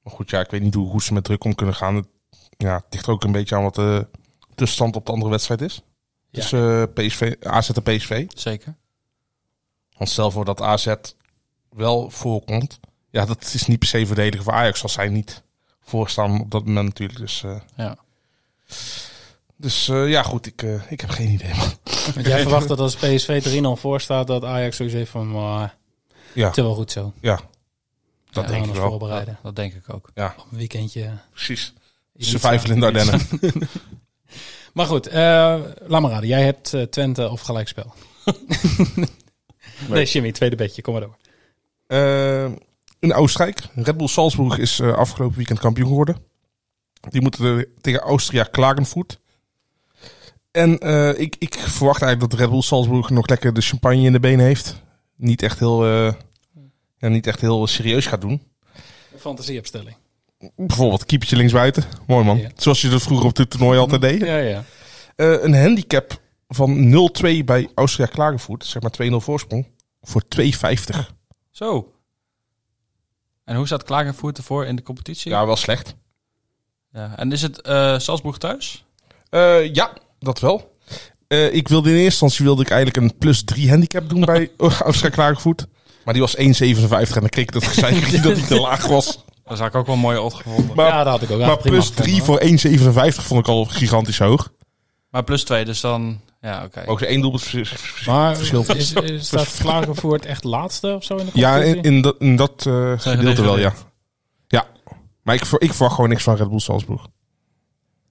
Speaker 9: Maar goed, ja, ik weet niet hoe, hoe ze met druk om kunnen gaan. Het, ja, het ligt er ook een beetje aan wat de tussenstand op de andere wedstrijd is.
Speaker 7: Ja.
Speaker 9: Dus eh, PSV, AZ en PSV.
Speaker 8: Zeker.
Speaker 9: Want stel voor dat AZ wel voorkomt. Ja, dat is niet per se verdedigen voor Ajax als zij niet voorstaan op dat moment natuurlijk. Dus, eh,
Speaker 8: Ja.
Speaker 9: dus eh, ja, goed, ik, eh, ik heb geen idee. man.
Speaker 7: Want jij verwacht dat als PSV 3-0 voor staat, dat Ajax sowieso heeft van... maar
Speaker 9: Ja.
Speaker 7: Het is wel goed zo.
Speaker 9: Ja, dat
Speaker 7: Ja,
Speaker 9: denk
Speaker 7: we
Speaker 9: ik
Speaker 7: ons
Speaker 9: wel.
Speaker 7: voorbereiden.
Speaker 8: Dat, dat denk ik ook.
Speaker 7: Op een weekendje.
Speaker 9: Precies. Survival in de Ardennen.
Speaker 7: Maar goed, eh laat maar raden. Jij hebt eh, Twente of
Speaker 9: <laughs>
Speaker 7: gelijkspel. nee, Jimmy, tweede bedje. Kom maar door.
Speaker 9: Eh, in Oostenrijk. Red Bull Salzburg is eh, afgelopen weekend kampioen geworden. Die moeten er tegen Austria Klagenvoet. En eh, ik, ik verwacht eigenlijk dat Red Bull Salzburg nog lekker de champagne in de benen heeft. Niet echt heel, eh, ja, niet echt heel serieus gaat doen.
Speaker 7: Fantasieopstelling.
Speaker 9: Bijvoorbeeld keepertje linksbuiten. Mooi man.
Speaker 7: Ja.
Speaker 9: Zoals je dat vroeger op dit toernooi altijd deed.
Speaker 7: Ja, ja.
Speaker 9: Eh, een handicap van 0-2 bij Austria Klagenvoet. Zeg maar 2-0 voorsprong. Voor 2,50.
Speaker 8: Zo. En hoe staat Klagenvoort ervoor in de competitie?
Speaker 9: Ja, wel slecht.
Speaker 8: Ja. En is het eh, Salzburg thuis?
Speaker 9: Eh, ja, dat wel. Eh, ik wilde in eerste instantie wilde ik eigenlijk een plus 3 handicap doen <laughs> bij Austria Klagenvoet. Maar die was 1,57 en dan kreeg ik dat gezeik dat hij te laag was.
Speaker 8: Dat zou ik ook wel een mooie odd gevonden.
Speaker 9: Maar-
Speaker 7: ja, dat had ik ook. Ja,
Speaker 9: maar
Speaker 7: prima
Speaker 9: plus
Speaker 7: gevonden,
Speaker 9: 3
Speaker 7: hoor.
Speaker 9: voor 1,57 vond ik al gigantisch hoog.
Speaker 8: Maar plus twee, dus dan... Ja, oké.
Speaker 9: Ook ze één doelpunt vers- vers-
Speaker 7: Maar
Speaker 9: <laughs> verschil.
Speaker 7: is, is, staat Klagenvoort echt laatste of zo in de
Speaker 9: Ja,
Speaker 7: competitie?
Speaker 9: in, in dat, in dat eh, gedeelte wel, ja.
Speaker 8: gedegradeerd?
Speaker 9: Ja. Maar ik, ver- ik verwacht gewoon niks van Red Bull Salzburg.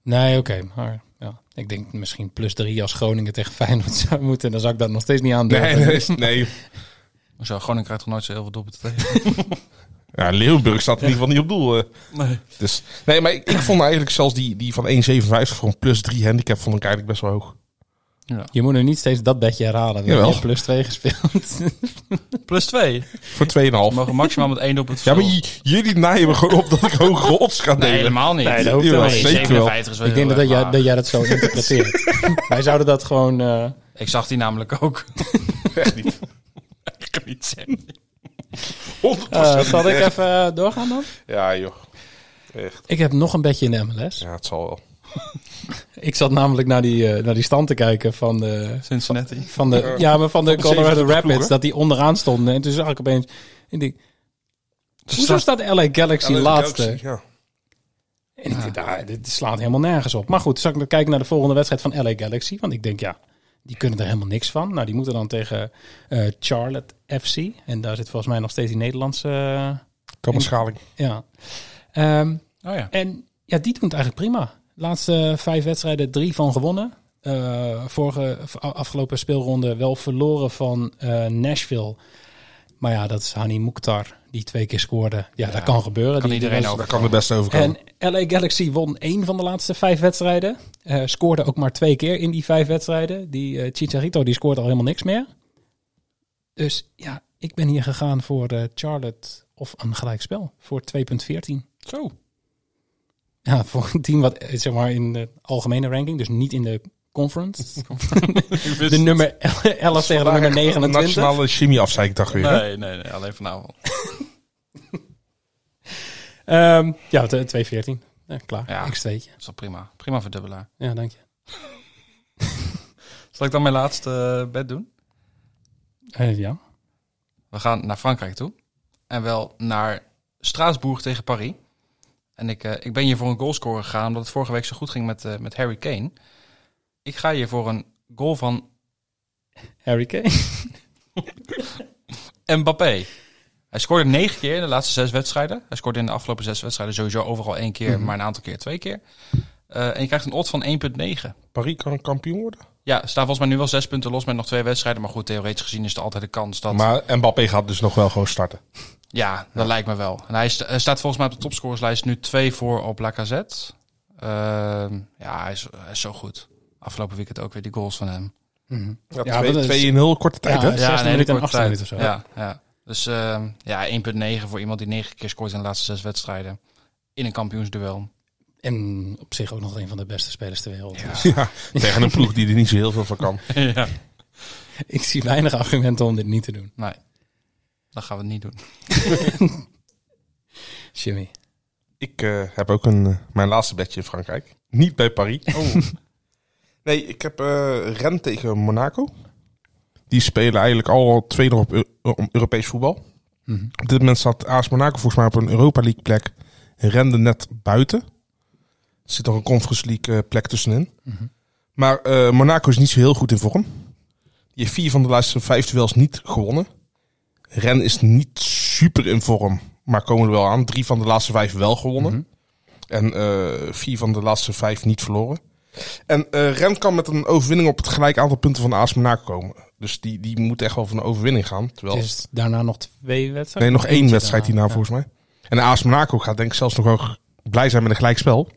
Speaker 7: Nee, oké. maar ja, ik denk misschien plus drie als Groningen tegen Feyenoord zou moeten. Dan zou ik dat nog steeds niet aandurven.
Speaker 9: Nee, nee, nee.
Speaker 8: Zo, Groningen krijgt toch nooit zo heel veel doelpunten tegen?
Speaker 9: Ja, Leeuwenburg staat in ieder geval niet op doel. eh.
Speaker 8: Nee.
Speaker 9: Dus, nee, maar ik, ik vond eigenlijk zelfs die, die van 1,57 voor een plus 3 handicap vond ik eigenlijk best wel hoog.
Speaker 7: Je moet nu niet steeds dat bedje herhalen. We
Speaker 9: Jawel.
Speaker 7: hebben plus twee <laughs> gespeeld.
Speaker 8: Plus twee.
Speaker 9: Voor 2,5.
Speaker 8: We mogen maximaal met één doelpunt
Speaker 9: Ja, maar
Speaker 8: verschil.
Speaker 9: j- jullie naaien me gewoon op dat ik hoge odds ga
Speaker 8: Nee,
Speaker 9: delen.
Speaker 8: helemaal niet.
Speaker 7: Nee, dat
Speaker 8: Nee,
Speaker 7: hoeft
Speaker 9: Jawel,
Speaker 7: helemaal niet.
Speaker 9: zeker wel.
Speaker 8: 57 is wel
Speaker 7: Ik denk
Speaker 8: heel
Speaker 7: dat, dat
Speaker 8: erg
Speaker 7: jij,
Speaker 8: laag.
Speaker 7: dat jij dat zo <laughs> interpreteert. Wij zouden dat gewoon... eh,
Speaker 8: Ik zag die namelijk ook. <laughs>
Speaker 9: Echt niet.
Speaker 8: Ik kan niet zeggen.
Speaker 9: 100%.
Speaker 7: eh, zal ik even eh, doorgaan dan?
Speaker 9: Ja, joh. Echt.
Speaker 7: Ik heb nog een bedje in de MLS.
Speaker 9: Ja, het zal wel.
Speaker 7: Ik zat namelijk naar die, eh, naar die stand te kijken van de,
Speaker 8: Cincinnati.
Speaker 7: van de, ja, maar van de
Speaker 9: de
Speaker 7: Colorado
Speaker 9: zevende ploeg,
Speaker 7: Rapids.
Speaker 9: hè?
Speaker 7: Dat die onderaan stonden. En toen zag ik opeens... Ik denk,
Speaker 8: Oh
Speaker 7: hoezo staat LA Galaxy laatste?
Speaker 9: Ja.
Speaker 7: En ik dacht, ah, dit slaat helemaal nergens op. Maar goed, zal ik nog kijken naar de volgende wedstrijd van LA Galaxy? Want ik denk, ja, die kunnen er helemaal niks van. Nou, die moeten dan tegen eh, Charlotte FC. En daar zit volgens mij nog steeds die Nederlandse... eh,
Speaker 9: Kammerschaling.
Speaker 7: ja. Ehm,
Speaker 8: Oh ja.
Speaker 7: en ja, die doen het eigenlijk prima. Laatste vijf wedstrijden, drie van gewonnen. Eh, vorige, v- a- afgelopen speelronde wel verloren van eh, Nashville. Maar ja, dat is Hani Mukhtar, die twee keer scoorde. Ja, dat kan gebeuren.
Speaker 8: Kan
Speaker 7: Die- die
Speaker 8: iedereen
Speaker 7: was-
Speaker 8: ook.
Speaker 9: Daar kan het best over komen.
Speaker 7: en LA Galaxy won één van de laatste vijf wedstrijden. Eh, scoorde ook maar twee keer in die vijf wedstrijden. Die eh Chicharito die scoort al helemaal niks meer. Dus ja, ik ben hier gegaan voor eh, Charlotte of een gelijkspel. Voor 2.14.
Speaker 8: Zo.
Speaker 7: Ja, voor een team wat eh, zeg maar in de algemene ranking, dus niet in de
Speaker 9: <laughs>
Speaker 7: conference. de nummer 11 tegen de nummer 29.
Speaker 9: Nationale chemieafzeikdag weer. hè?
Speaker 8: Nee, nee, nee. Alleen vanavond.
Speaker 7: Ehm, ja, de 2.14. Ja, klaar.
Speaker 8: Ja.
Speaker 7: X2'tje.
Speaker 8: Dat is toch prima. Prima verdubbelaar.
Speaker 7: Ja, dank je.
Speaker 8: Zal ik dan mijn laatste eh, bed doen?
Speaker 7: Eh, ja.
Speaker 8: We gaan naar Frankrijk toe. En wel naar Straatsburg tegen Paris. En ik, eh, ik ben hier voor een goalscorer gegaan, omdat het vorige week zo goed ging met, eh, met Harry Kane. Ik ga hier voor een goal van
Speaker 7: Harry Kane.
Speaker 8: Mbappé. Hij scoorde negen keer in de laatste zes wedstrijden. Hij scoorde in de afgelopen zes wedstrijden sowieso overal één keer, maar een aantal keer twee keer. Eh, en je krijgt een odd van 1,9.
Speaker 9: Paris kan kampioen worden.
Speaker 8: Ja, staat volgens mij nu wel zes punten los met nog twee wedstrijden. Maar goed, theoretisch gezien is er altijd de kans dat...
Speaker 9: Maar Mbappé gaat dus nog wel gewoon starten.
Speaker 8: Ja, dat lijkt me wel. En hij, sta- hij staat volgens mij op de topscorerslijst nu twee voor op Lacazette. Ehm ja, hij is, hij is zo goed. Afgelopen weekend ook weer die goals van hem.
Speaker 9: Mhm. Ja,
Speaker 7: Ja,
Speaker 9: twee,
Speaker 7: dat is-
Speaker 9: twee in heel korte tijd,
Speaker 7: Ja,
Speaker 9: hè?
Speaker 7: ja, 16
Speaker 8: nee,
Speaker 7: minuten en
Speaker 8: korte
Speaker 7: 18
Speaker 8: tijd.
Speaker 7: minuten of zo.
Speaker 8: Ja, ja. Dus ehm, ja, 1,9 voor iemand die negen keer scoort in de laatste zes wedstrijden. In een kampioensduel.
Speaker 7: En op zich ook nog een van de beste spelers ter wereld. Dus
Speaker 9: <laughs> Ja, tegen een ploeg die er niet zo heel veel van kan. <laughs>
Speaker 8: ja.
Speaker 7: ik zie weinig argumenten om dit niet te doen.
Speaker 8: Nee, dat gaan we niet doen.
Speaker 7: Jimmy.
Speaker 9: Ik eh, heb ook een, eh, mijn laatste bedje in Frankrijk. Niet bij Paris.
Speaker 7: Oh.
Speaker 9: <laughs> nee, ik heb eh Rennes tegen Monaco. Die spelen eigenlijk al twee nog op Eu- om Europees voetbal. Op dit moment staat AS Monaco volgens mij op een Europa League plek. Rende net buiten. Er zit nog een Conference League eh, plek tussenin.
Speaker 7: Mhm.
Speaker 9: Maar eh, Monaco is niet zo heel goed in vorm. Die heeft vier van de laatste vijf duels niet gewonnen. Ren is niet super in vorm, maar komen er wel aan. Drie van de laatste vijf wel gewonnen.
Speaker 7: Mhm.
Speaker 9: En eh, vier van de laatste vijf niet verloren. En eh Ren kan met een overwinning op het gelijk aantal punten van AS Monaco komen. Dus die, die moet echt wel van een overwinning gaan. Terwijl
Speaker 7: Het is daarna nog twee wedstrijden?
Speaker 9: Nee, nog één
Speaker 7: Eentje
Speaker 9: wedstrijd
Speaker 7: daarna,
Speaker 9: hierna volgens mij. En AS Monaco gaat denk ik zelfs nog wel blij zijn met een gelijkspel.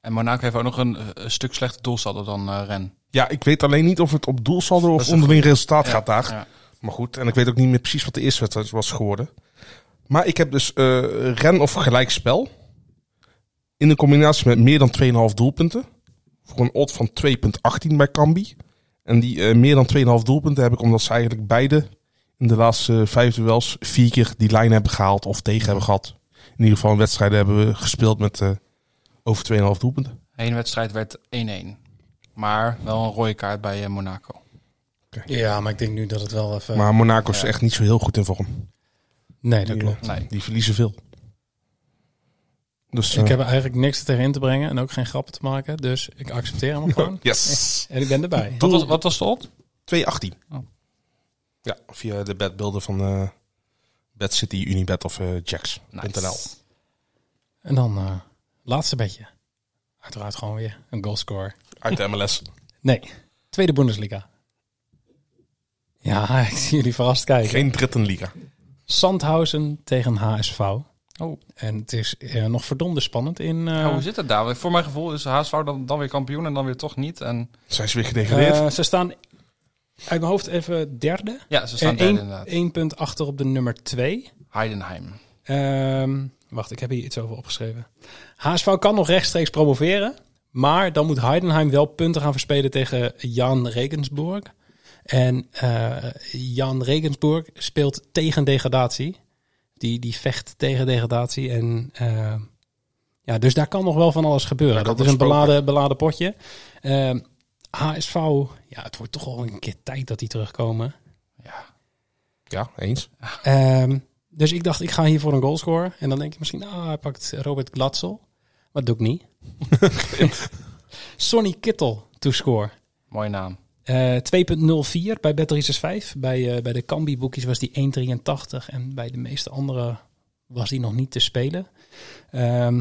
Speaker 8: En Monaco heeft ook nog een, eh, een stuk slechter doelsaldo dan eh Ren.
Speaker 9: Ja, ik weet alleen niet of het op doelsaldo
Speaker 8: Dat
Speaker 9: of
Speaker 8: is een
Speaker 9: onderling resultaat
Speaker 8: Ja,
Speaker 9: gaat daar.
Speaker 8: ja.
Speaker 9: Maar goed, en ik weet ook niet meer precies wat de eerste wedstrijd was geworden. Maar ik heb dus eh ren of gelijkspel. In een combinatie met meer dan 2,5 doelpunten. Voor een odd van 2,18 bij Kambi. En die eh, meer dan 2,5 doelpunten heb ik omdat ze eigenlijk beide in de laatste eh, vijf duels vier keer die lijn hebben gehaald of tegen hebben gehad. In ieder geval in wedstrijden hebben we gespeeld met eh, over 2,5 doelpunten.
Speaker 8: Eén wedstrijd werd 1-1. Maar wel een rode kaart bij eh, Monaco.
Speaker 7: Ja, maar ik denk nu dat het wel even...
Speaker 9: Maar Monaco is
Speaker 8: ja.
Speaker 9: echt niet zo heel goed in vorm.
Speaker 7: nee, dat klopt.
Speaker 8: Nee.
Speaker 9: Die verliezen veel. Dus
Speaker 7: Ik
Speaker 9: eh,
Speaker 7: heb er eigenlijk niks tegenin te brengen en ook geen grappen te maken. Dus ik accepteer hem
Speaker 9: <laughs>
Speaker 7: gewoon.
Speaker 9: Yes.
Speaker 7: En ik ben erbij.
Speaker 8: Wat was, wat was de odd?
Speaker 9: 218.
Speaker 8: Oh.
Speaker 9: Ja, via de bedbeelden van eh Bad City, Unibed of eh Jacks.nl.
Speaker 8: Nice.
Speaker 7: En dan eh, laatste bedje. Uiteraard gewoon weer een goalscore.
Speaker 9: Uit de
Speaker 7: <laughs>
Speaker 9: MLS.
Speaker 7: Nee, tweede Bundesliga. Ja, <laughs> ik zie jullie verrast kijken.
Speaker 9: Geen Drittenliga.
Speaker 7: Sandhausen tegen HSV.
Speaker 8: Oh.
Speaker 7: En het is eh, nog verdomde spannend in... eh,
Speaker 8: Ja, hoe zit het daar? Want Voor mijn gevoel is HSV dan, dan weer kampioen en dan weer toch niet. En,
Speaker 9: Zijn ze weer gedegradeerd?
Speaker 7: eh, ze staan uit mijn hoofd even derde.
Speaker 8: ja, ze staan
Speaker 7: En
Speaker 8: derde
Speaker 7: één,
Speaker 8: inderdaad.
Speaker 7: één punt achter op de nummer twee.
Speaker 8: Heidenheim.
Speaker 7: Ehm, wacht, ik heb hier iets over opgeschreven. HSV kan nog rechtstreeks promoveren. Maar dan moet Heidenheim wel punten gaan verspelen tegen Jan Regensburg. En eh, Jan Regensburg speelt tegen degradatie. Die, die vecht tegen degradatie. En, eh, ja, dus daar kan nog wel van alles gebeuren.
Speaker 9: Daar kan
Speaker 7: Dat is een
Speaker 9: nog spoken.
Speaker 7: beladen, beladen potje. Ehm, HSV, ja, het wordt toch al een keer tijd dat die terugkomen.
Speaker 9: Ja, eens.
Speaker 7: Ehm, dus ik dacht, ik ga hier voor een goal scoren. En dan denk je misschien, ah, hij pakt Robert Gladsel. Maar dat doe ik niet. Sonny Kittel to score.
Speaker 8: Mooie naam.
Speaker 7: Eh, 2.04 bij Bet365. Bij, eh, bij de Kambi boekjes was die 1.83. En bij de meeste andere was die nog niet te spelen. Ehm,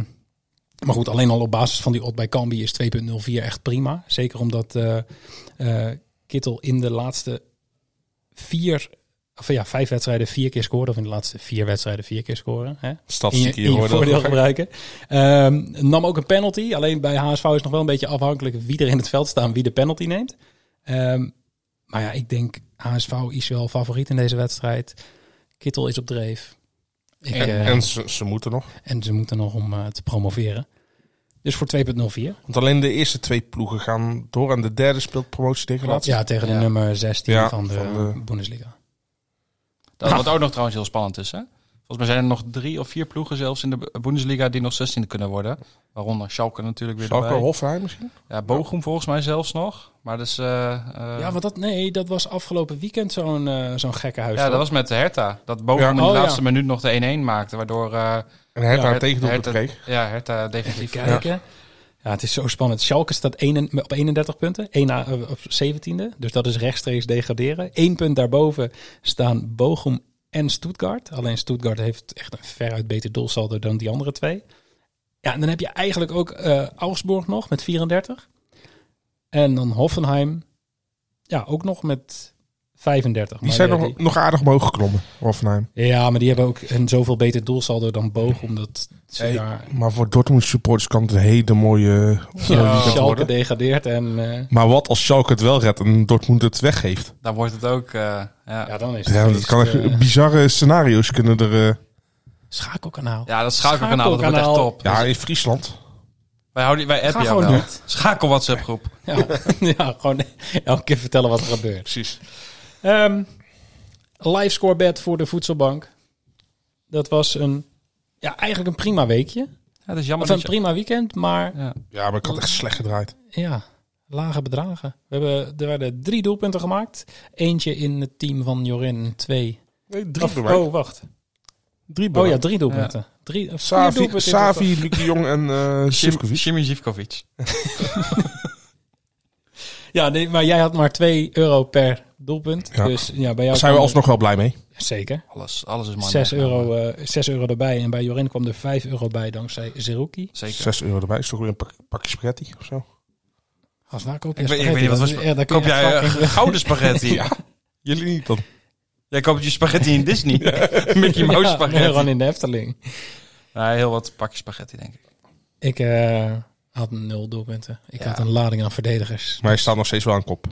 Speaker 7: maar goed, alleen al op basis van die odd bij Kambi is 2.04 echt prima. Zeker omdat eh, eh, Kittel in de laatste vier... Of ja, vijf wedstrijden vier keer scoren. Of in de laatste vier wedstrijden vier keer scoren. Hè? in je,
Speaker 9: Statistiek
Speaker 7: in
Speaker 9: hier
Speaker 7: je
Speaker 9: hoor.
Speaker 7: voordeel gebruiken. Ehm, nam ook een penalty. Alleen bij HSV is nog wel een beetje afhankelijk wie er in het veld staat en wie de penalty neemt. Ehm, maar ja, ik denk HSV is wel favoriet in deze wedstrijd. Kittel is op dreef. Ik,
Speaker 9: En,
Speaker 7: eh,
Speaker 9: en ze, ze moeten nog.
Speaker 7: en ze moeten nog om eh, te promoveren. Dus voor 2.04.
Speaker 9: Want alleen de eerste twee ploegen gaan door. En de derde speelt promotiedegradatie.
Speaker 7: Ja, tegen de
Speaker 8: Ja.
Speaker 7: nummer 16
Speaker 9: Ja,
Speaker 7: van, de
Speaker 9: van de-
Speaker 7: Bundesliga.
Speaker 8: Dat, wat ook nog trouwens heel spannend is. Hè? Volgens mij zijn er nog drie of vier ploegen zelfs in de Bundesliga die nog 16 kunnen worden. Waaronder Schalke natuurlijk weer
Speaker 9: Schalke
Speaker 8: erbij.
Speaker 9: Hoffenheim misschien?
Speaker 8: Ja, Bochum volgens mij zelfs nog. Maar dus, eh, eh,
Speaker 7: ja, want dat, nee, dat was afgelopen weekend zo'n eh zo'n gekke huis.
Speaker 8: ja, dat was met Hertha. Dat Bochum
Speaker 9: Ja.
Speaker 8: in de
Speaker 7: Oh, ja.
Speaker 8: laatste minuut nog de 1-1 maakte. Waardoor eh
Speaker 9: En Hertha
Speaker 8: Ja,
Speaker 9: een tegendoel
Speaker 8: Hertha-
Speaker 9: kreeg.
Speaker 8: ja, Hertha definitief...
Speaker 7: Even kijken. Ja. het is zo spannend. Schalke staat 1 op 31 punten, 1 na, eh, op 17e. Dus dat is rechtstreeks degraderen. Eén punt daarboven staan Bochum en Stuttgart. Alleen Stuttgart heeft echt een veruit beter doelsaldo dan die andere twee. Ja, en dan heb je eigenlijk ook eh, Augsburg nog met 34. En dan Hoffenheim, ja, ook nog met 35.
Speaker 9: Die
Speaker 7: Maar
Speaker 9: zijn
Speaker 7: ja,
Speaker 9: nog, nog aardig omhoog geklommen, Hoffenheim.
Speaker 7: Ja, maar die hebben ook een zoveel beter doelsaldo dan Bochum. Dat ze
Speaker 9: Hey,
Speaker 7: daar
Speaker 9: Maar voor Dortmund supporters kan het een hele mooie... mooie
Speaker 7: ja,
Speaker 9: weekend
Speaker 7: Schalke
Speaker 9: worden.
Speaker 7: degradeert en... eh,
Speaker 9: Maar wat als Schalke het wel redt en Dortmund het weggeeft?
Speaker 8: Dan wordt het ook... eh, ja.
Speaker 7: Ja, dan is het
Speaker 9: Ja, dat
Speaker 7: feest,
Speaker 9: kan echt <laughs>
Speaker 7: eh,
Speaker 9: bizarre scenario's kunnen er... eh,
Speaker 7: schakelkanaal.
Speaker 8: ja, dat schakelkanaal, dat wordt echt
Speaker 7: Schakelkanaal.
Speaker 8: top.
Speaker 9: ja, in Friesland.
Speaker 8: Wij, houden, wij appen
Speaker 7: Ga
Speaker 8: jou
Speaker 7: gewoon
Speaker 8: wel. Schakel WhatsApp groep.
Speaker 7: Ja, <laughs> ja, gewoon elke keer vertellen wat er gebeurt.
Speaker 9: Precies.
Speaker 7: Ehm live scorebed voor de voedselbank. Dat was een, ja, eigenlijk een prima weekje.
Speaker 8: Ja, dat is jammer.
Speaker 7: Of een
Speaker 8: Dat je-
Speaker 7: prima weekend, maar
Speaker 8: ja.
Speaker 9: Ja, maar ik had echt slecht gedraaid.
Speaker 7: ja, lage bedragen. We hebben, er werden drie doelpunten gemaakt. Eentje in het team van Jorin, twee.
Speaker 9: Nee,
Speaker 7: Of, oh, wacht.
Speaker 9: Drie
Speaker 7: Oh ja, drie doelpunten. Drie, of vier
Speaker 9: Savi,
Speaker 7: doelpunten.
Speaker 9: Savi Luc de Jong en <laughs> eh
Speaker 8: Jim-
Speaker 9: Sivkovic.
Speaker 8: Jimmy Zivkovic.
Speaker 7: Ja, nee, maar jij had maar 2 euro per doelpunt.
Speaker 9: Ja.
Speaker 7: Dus ja, bij jou
Speaker 9: Daar zijn we
Speaker 7: kwam er-
Speaker 9: alsnog wel blij mee.
Speaker 7: Zeker.
Speaker 8: Alles, alles is maar
Speaker 7: 6 euro, eh 6 euro erbij. En bij Jorin kwam er 5 euro bij dankzij Zerouki.
Speaker 8: Zeker.
Speaker 9: Zes euro erbij. Is toch weer een pak- pakje spaghetti of zo?
Speaker 7: Als waar koop je
Speaker 8: Ik weet, ik
Speaker 7: spaghetti?
Speaker 8: weet niet wat
Speaker 7: Dat
Speaker 8: was.
Speaker 7: is- ja, daar kun
Speaker 8: koop
Speaker 7: je echt
Speaker 8: jij <laughs>
Speaker 7: fucking-
Speaker 8: eh, gouden
Speaker 7: <laughs>
Speaker 8: spaghetti?
Speaker 9: Ja. Jullie niet dan?
Speaker 8: Jij koopt je spaghetti in
Speaker 7: <laughs>
Speaker 8: Disney. <laughs> Mickey Mouse
Speaker 7: Ja,
Speaker 8: spaghetti.
Speaker 7: gewoon in de Efteling.
Speaker 8: Nee, heel wat pakjes spaghetti, denk ik.
Speaker 7: Ik eh, had nul doelpunten. Ik
Speaker 8: Ja.
Speaker 7: had een lading aan verdedigers.
Speaker 9: Maar hij staat nog steeds wel aan kop.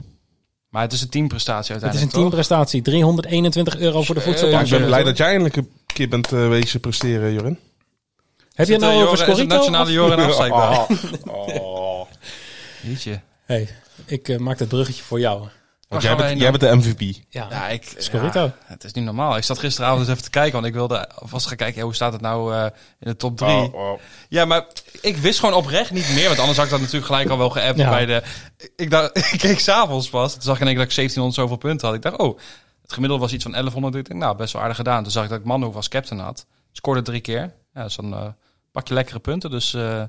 Speaker 8: Maar het is een teamprestatie
Speaker 7: Het is een
Speaker 8: uiteindelijk. toch?
Speaker 7: teamprestatie. 321 euro
Speaker 8: Eh,
Speaker 7: voor de voedselbank.
Speaker 9: ik ben blij dat jij eindelijk een keer bent eh wezen presteren,
Speaker 7: Heb
Speaker 9: Jorin.
Speaker 7: je
Speaker 8: Is
Speaker 7: het
Speaker 8: het,
Speaker 7: nou over
Speaker 8: eh, Joren- is het
Speaker 7: Scorito?
Speaker 8: nationale
Speaker 7: of-
Speaker 8: Joren
Speaker 7: <laughs>
Speaker 8: afzeikbaar?
Speaker 9: Oh.
Speaker 3: Ah. Oh,
Speaker 8: Jeetje.
Speaker 7: Hey, ik eh, maak dat bruggetje voor jou.
Speaker 9: Want
Speaker 8: gaan
Speaker 9: jij
Speaker 8: we
Speaker 9: bent,
Speaker 8: heen
Speaker 9: jij bent de MVP.
Speaker 7: Ja,
Speaker 8: Ja, ik,
Speaker 7: Scorito.
Speaker 8: ja, het is niet normaal. Ik zat gisteravond eens even te kijken, want ik wilde vast gaan kijken, hé, hoe staat het nou eh, in de top 3?
Speaker 7: Oh,
Speaker 3: oh.
Speaker 8: Ja, maar ik wist gewoon oprecht niet meer, want anders had ik dat natuurlijk gelijk al wel geappt
Speaker 7: Ja.
Speaker 8: bij de... Ik, dacht, <laughs> ik keek s'avonds pas, toen zag ik in één keer dat ik 1700 zoveel punten had. Ik dacht, oh, het gemiddelde was iets van 1100. Ik denk, nou, best wel aardig gedaan. Toen zag ik dat ik Manhoef als captain had. Scoorde drie keer. Ja, dat is dan eh, pak je lekkere punten, dus eh,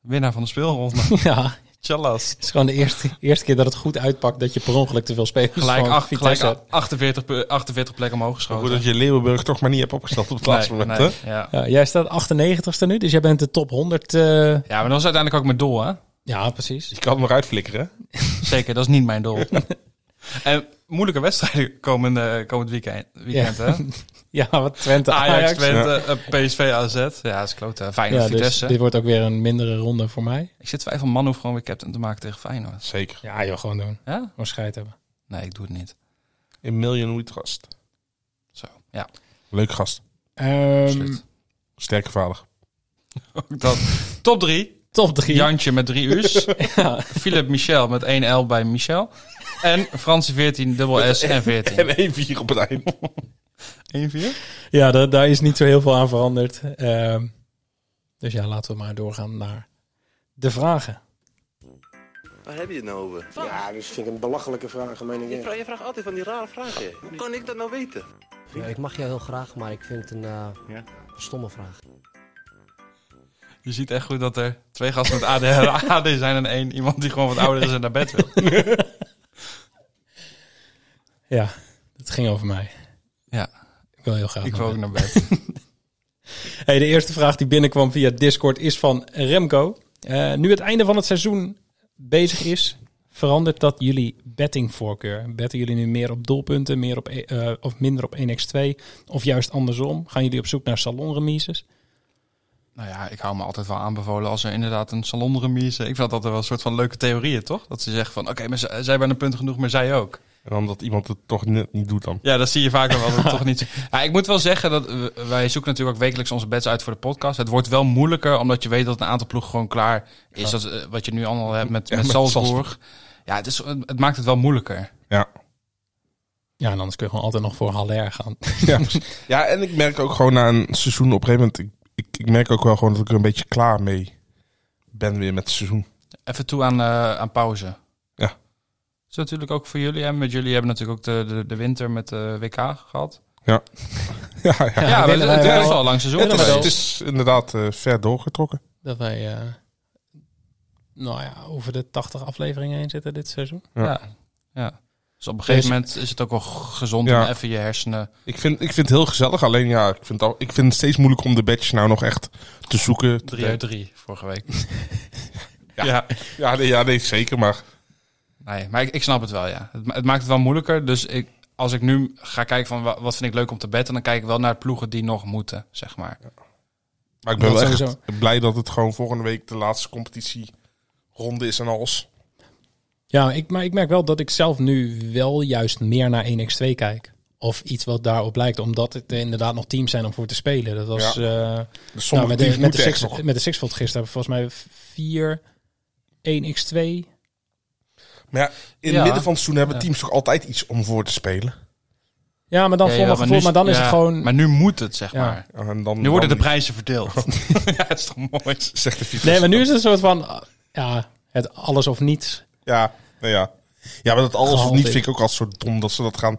Speaker 8: winnaar van de speelronde.
Speaker 9: <laughs>
Speaker 7: <laughs> ja.
Speaker 8: Tjallas.
Speaker 7: Het is gewoon de eerste, eerste keer dat het goed uitpakt dat je per ongeluk te veel spelers
Speaker 8: Gelijk,
Speaker 7: van
Speaker 8: acht,
Speaker 7: Vitesse
Speaker 8: gelijk
Speaker 7: hebt.
Speaker 8: 48, pu- 48 plekken omhoog
Speaker 9: Goed
Speaker 8: geschoten.
Speaker 9: dat je Leeuwenburg toch maar niet hebt opgesteld op het laatste
Speaker 8: Nee,
Speaker 9: moment.
Speaker 8: nee,
Speaker 9: hè?
Speaker 8: ja.
Speaker 7: Ja, jij staat 98ste nu, dus jij bent de top 100. eh,
Speaker 8: ja, maar dat was uiteindelijk ook mijn doel, hè?
Speaker 7: ja, precies.
Speaker 9: Je kan hem eruit flikkeren.
Speaker 8: Zeker, dat is niet mijn
Speaker 7: <laughs>
Speaker 8: doel. en moeilijke wedstrijden komen eh, komend weekend, weekend hè?
Speaker 7: <laughs> Ja, wat Twente,
Speaker 8: Ajax,
Speaker 7: Ajax.
Speaker 8: Twente, eh, PSV, AZ. Ja, dat is klote. Feyenoord,
Speaker 7: Ja, dus
Speaker 8: Vitesse.
Speaker 7: dit wordt ook weer een mindere ronde voor mij.
Speaker 8: Ik zit twijfel man hoeft gewoon weer captain te maken tegen Feyenoord.
Speaker 9: Zeker.
Speaker 7: Ja, joh, gewoon doen.
Speaker 8: Ja?
Speaker 7: Gewoon scheid hebben.
Speaker 8: Nee, ik doe het niet.
Speaker 9: In Million We Trust.
Speaker 8: Zo, ja.
Speaker 9: Leuk gast.
Speaker 7: Ehm
Speaker 8: Absoluut. <laughs>
Speaker 9: Sterke vader.
Speaker 8: Ook dat. Top 3.
Speaker 7: top 3.
Speaker 8: Jantje met drie u's.
Speaker 7: <laughs> Ja.
Speaker 8: Philip Michel met 1 L bij Michel. En Franse 14, dubbel S
Speaker 7: <laughs>
Speaker 8: en 14.
Speaker 9: En 1-4 op het eind.
Speaker 8: 1-4?
Speaker 7: Ja, daar, daar is niet zo heel veel aan veranderd. Ehm, dus ja, laten we maar doorgaan naar de vragen.
Speaker 4: Waar heb je het nou over?
Speaker 10: Ja, dat vind ik een belachelijke vraag, meen ik.
Speaker 4: Je, vra- je vraagt altijd van die rare vragen. Hoe kan ik dat nou weten?
Speaker 11: ik mag jou heel graag, maar ik vind het een stomme vraag.
Speaker 8: Je ziet echt goed dat er twee gasten met ADHD AD zijn en één iemand die gewoon wat ouder is en naar bed wil.
Speaker 7: Ja, dat ging over mij.
Speaker 8: Ja.
Speaker 7: Ik wil heel graag.
Speaker 8: Ik
Speaker 7: naar
Speaker 8: wil
Speaker 7: bed.
Speaker 8: ook naar bed.
Speaker 7: Hey, de eerste vraag die binnenkwam via Discord is van Remco. Eh, nu het einde van het seizoen bezig is, verandert dat jullie bettingvoorkeur? Betten jullie nu meer op doelpunten, meer op, e- eh, of minder op 1x2? Of juist andersom? Gaan jullie op zoek naar salonremises?
Speaker 8: Nou ja, ik hou me altijd wel aanbevolen als er inderdaad een salonremise... Ik vind dat wel een soort van leuke theorieën, toch? Dat ze zeggen van, oké, maar z- zij hebben een punt genoeg, maar zij ook.
Speaker 9: En omdat iemand het toch net niet doet dan.
Speaker 8: Ja, dat zie je vaak wel. Dat het toch niet... ja, ik moet wel zeggen dat eh, wij zoeken natuurlijk ook wekelijks onze bets uit voor de podcast. Het wordt wel moeilijker, omdat je weet dat een aantal ploegen gewoon klaar is. Dat, is, eh, wat je nu allemaal hebt met,
Speaker 9: Ja,
Speaker 8: met
Speaker 9: met
Speaker 8: Salzburg.
Speaker 9: Salzburg.
Speaker 8: Ja, het, is, het maakt het wel moeilijker.
Speaker 9: Ja.
Speaker 7: Ja, en anders kun je gewoon altijd nog voor Haller gaan.
Speaker 9: Ja, precies. ja, en ik merk ook gewoon na een seizoen op een gegeven moment... Ik, ik, ik merk ook wel gewoon dat ik er een beetje klaar mee ben weer met het seizoen. <laughs>
Speaker 8: Even toe aan, eh, aan pauze.
Speaker 9: Ja.
Speaker 8: is natuurlijk ook voor jullie. En met jullie hebben natuurlijk ook de, de, de winter met de WK gehad.
Speaker 9: Ja, ja.
Speaker 8: Ja,
Speaker 7: dat
Speaker 8: we-
Speaker 7: willen wij
Speaker 8: het
Speaker 7: wel.
Speaker 8: is al een lang seizoen
Speaker 9: het, is,
Speaker 8: geweest.
Speaker 9: het is inderdaad eh, ver doorgetrokken.
Speaker 7: Dat wij, eh, nou ja, over de 80 afleveringen heen zitten dit seizoen.
Speaker 9: Ja.
Speaker 8: Ja. ja. Dus op een gegeven
Speaker 7: Deze-
Speaker 8: moment is het ook wel gezond
Speaker 9: Ja.
Speaker 8: om even je hersenen...
Speaker 9: Ik vind, ik vind het heel gezellig. Alleen ja, ik vind, het al, ik vind het steeds moeilijker om de badge nou nog echt te zoeken.
Speaker 8: 3 uit 3 vorige week.
Speaker 9: Ja. Ja, nee, ja, nee zeker. Maar
Speaker 8: Nee, maar ik, ik snap het wel, ja. Het, ma- het maakt het wel moeilijker. Dus ik, als ik nu ga kijken van wa- wat vind ik leuk om te betten... dan kijk ik wel naar ploegen die nog moeten, zeg maar.
Speaker 9: Maar ik ben
Speaker 7: Dat
Speaker 9: wel echt
Speaker 7: sowieso.
Speaker 9: blij dat het gewoon volgende week de laatste competitieronde is en alles.
Speaker 7: Ja, ik, maar ik merk wel dat ik zelf nu wel juist meer naar 1x2 kijk. Of iets wat daarop lijkt, omdat het er inderdaad nog teams zijn om voor te spelen. Dat was
Speaker 9: Ja.
Speaker 7: eh,
Speaker 9: Dus
Speaker 7: nou,
Speaker 9: sommige
Speaker 7: met, de,
Speaker 9: teams
Speaker 7: met, de
Speaker 9: moeten echt
Speaker 7: six,
Speaker 9: nog.
Speaker 7: met de Sixfold gisteren hebben we volgens mij vier 1x2.
Speaker 9: Maar ja, in
Speaker 8: Ja.
Speaker 9: het midden van het seizoen hebben
Speaker 8: Ja.
Speaker 9: teams toch altijd iets om voor te spelen.
Speaker 7: Ja, maar dan
Speaker 8: Ja,
Speaker 7: voor
Speaker 8: ja,
Speaker 7: mijn gevoel,
Speaker 8: nu-
Speaker 7: maar dan is
Speaker 8: ja,
Speaker 7: het gewoon...
Speaker 8: Maar nu moet het, zeg
Speaker 7: Ja.
Speaker 8: maar.
Speaker 9: En dan,
Speaker 8: Nu worden de
Speaker 9: dan
Speaker 8: prijzen <laughs> verdeeld. ja, dat is toch <laughs> mooi.
Speaker 9: Zegt de FIFA.
Speaker 7: Nee, maar nu is het een soort van, ah, ja, het alles of niets.
Speaker 9: Ja, nou ja. Ja, maar dat alles of
Speaker 7: Gehaald
Speaker 9: niet
Speaker 7: is.
Speaker 9: vind ik ook altijd zo dom dat ze dat gaan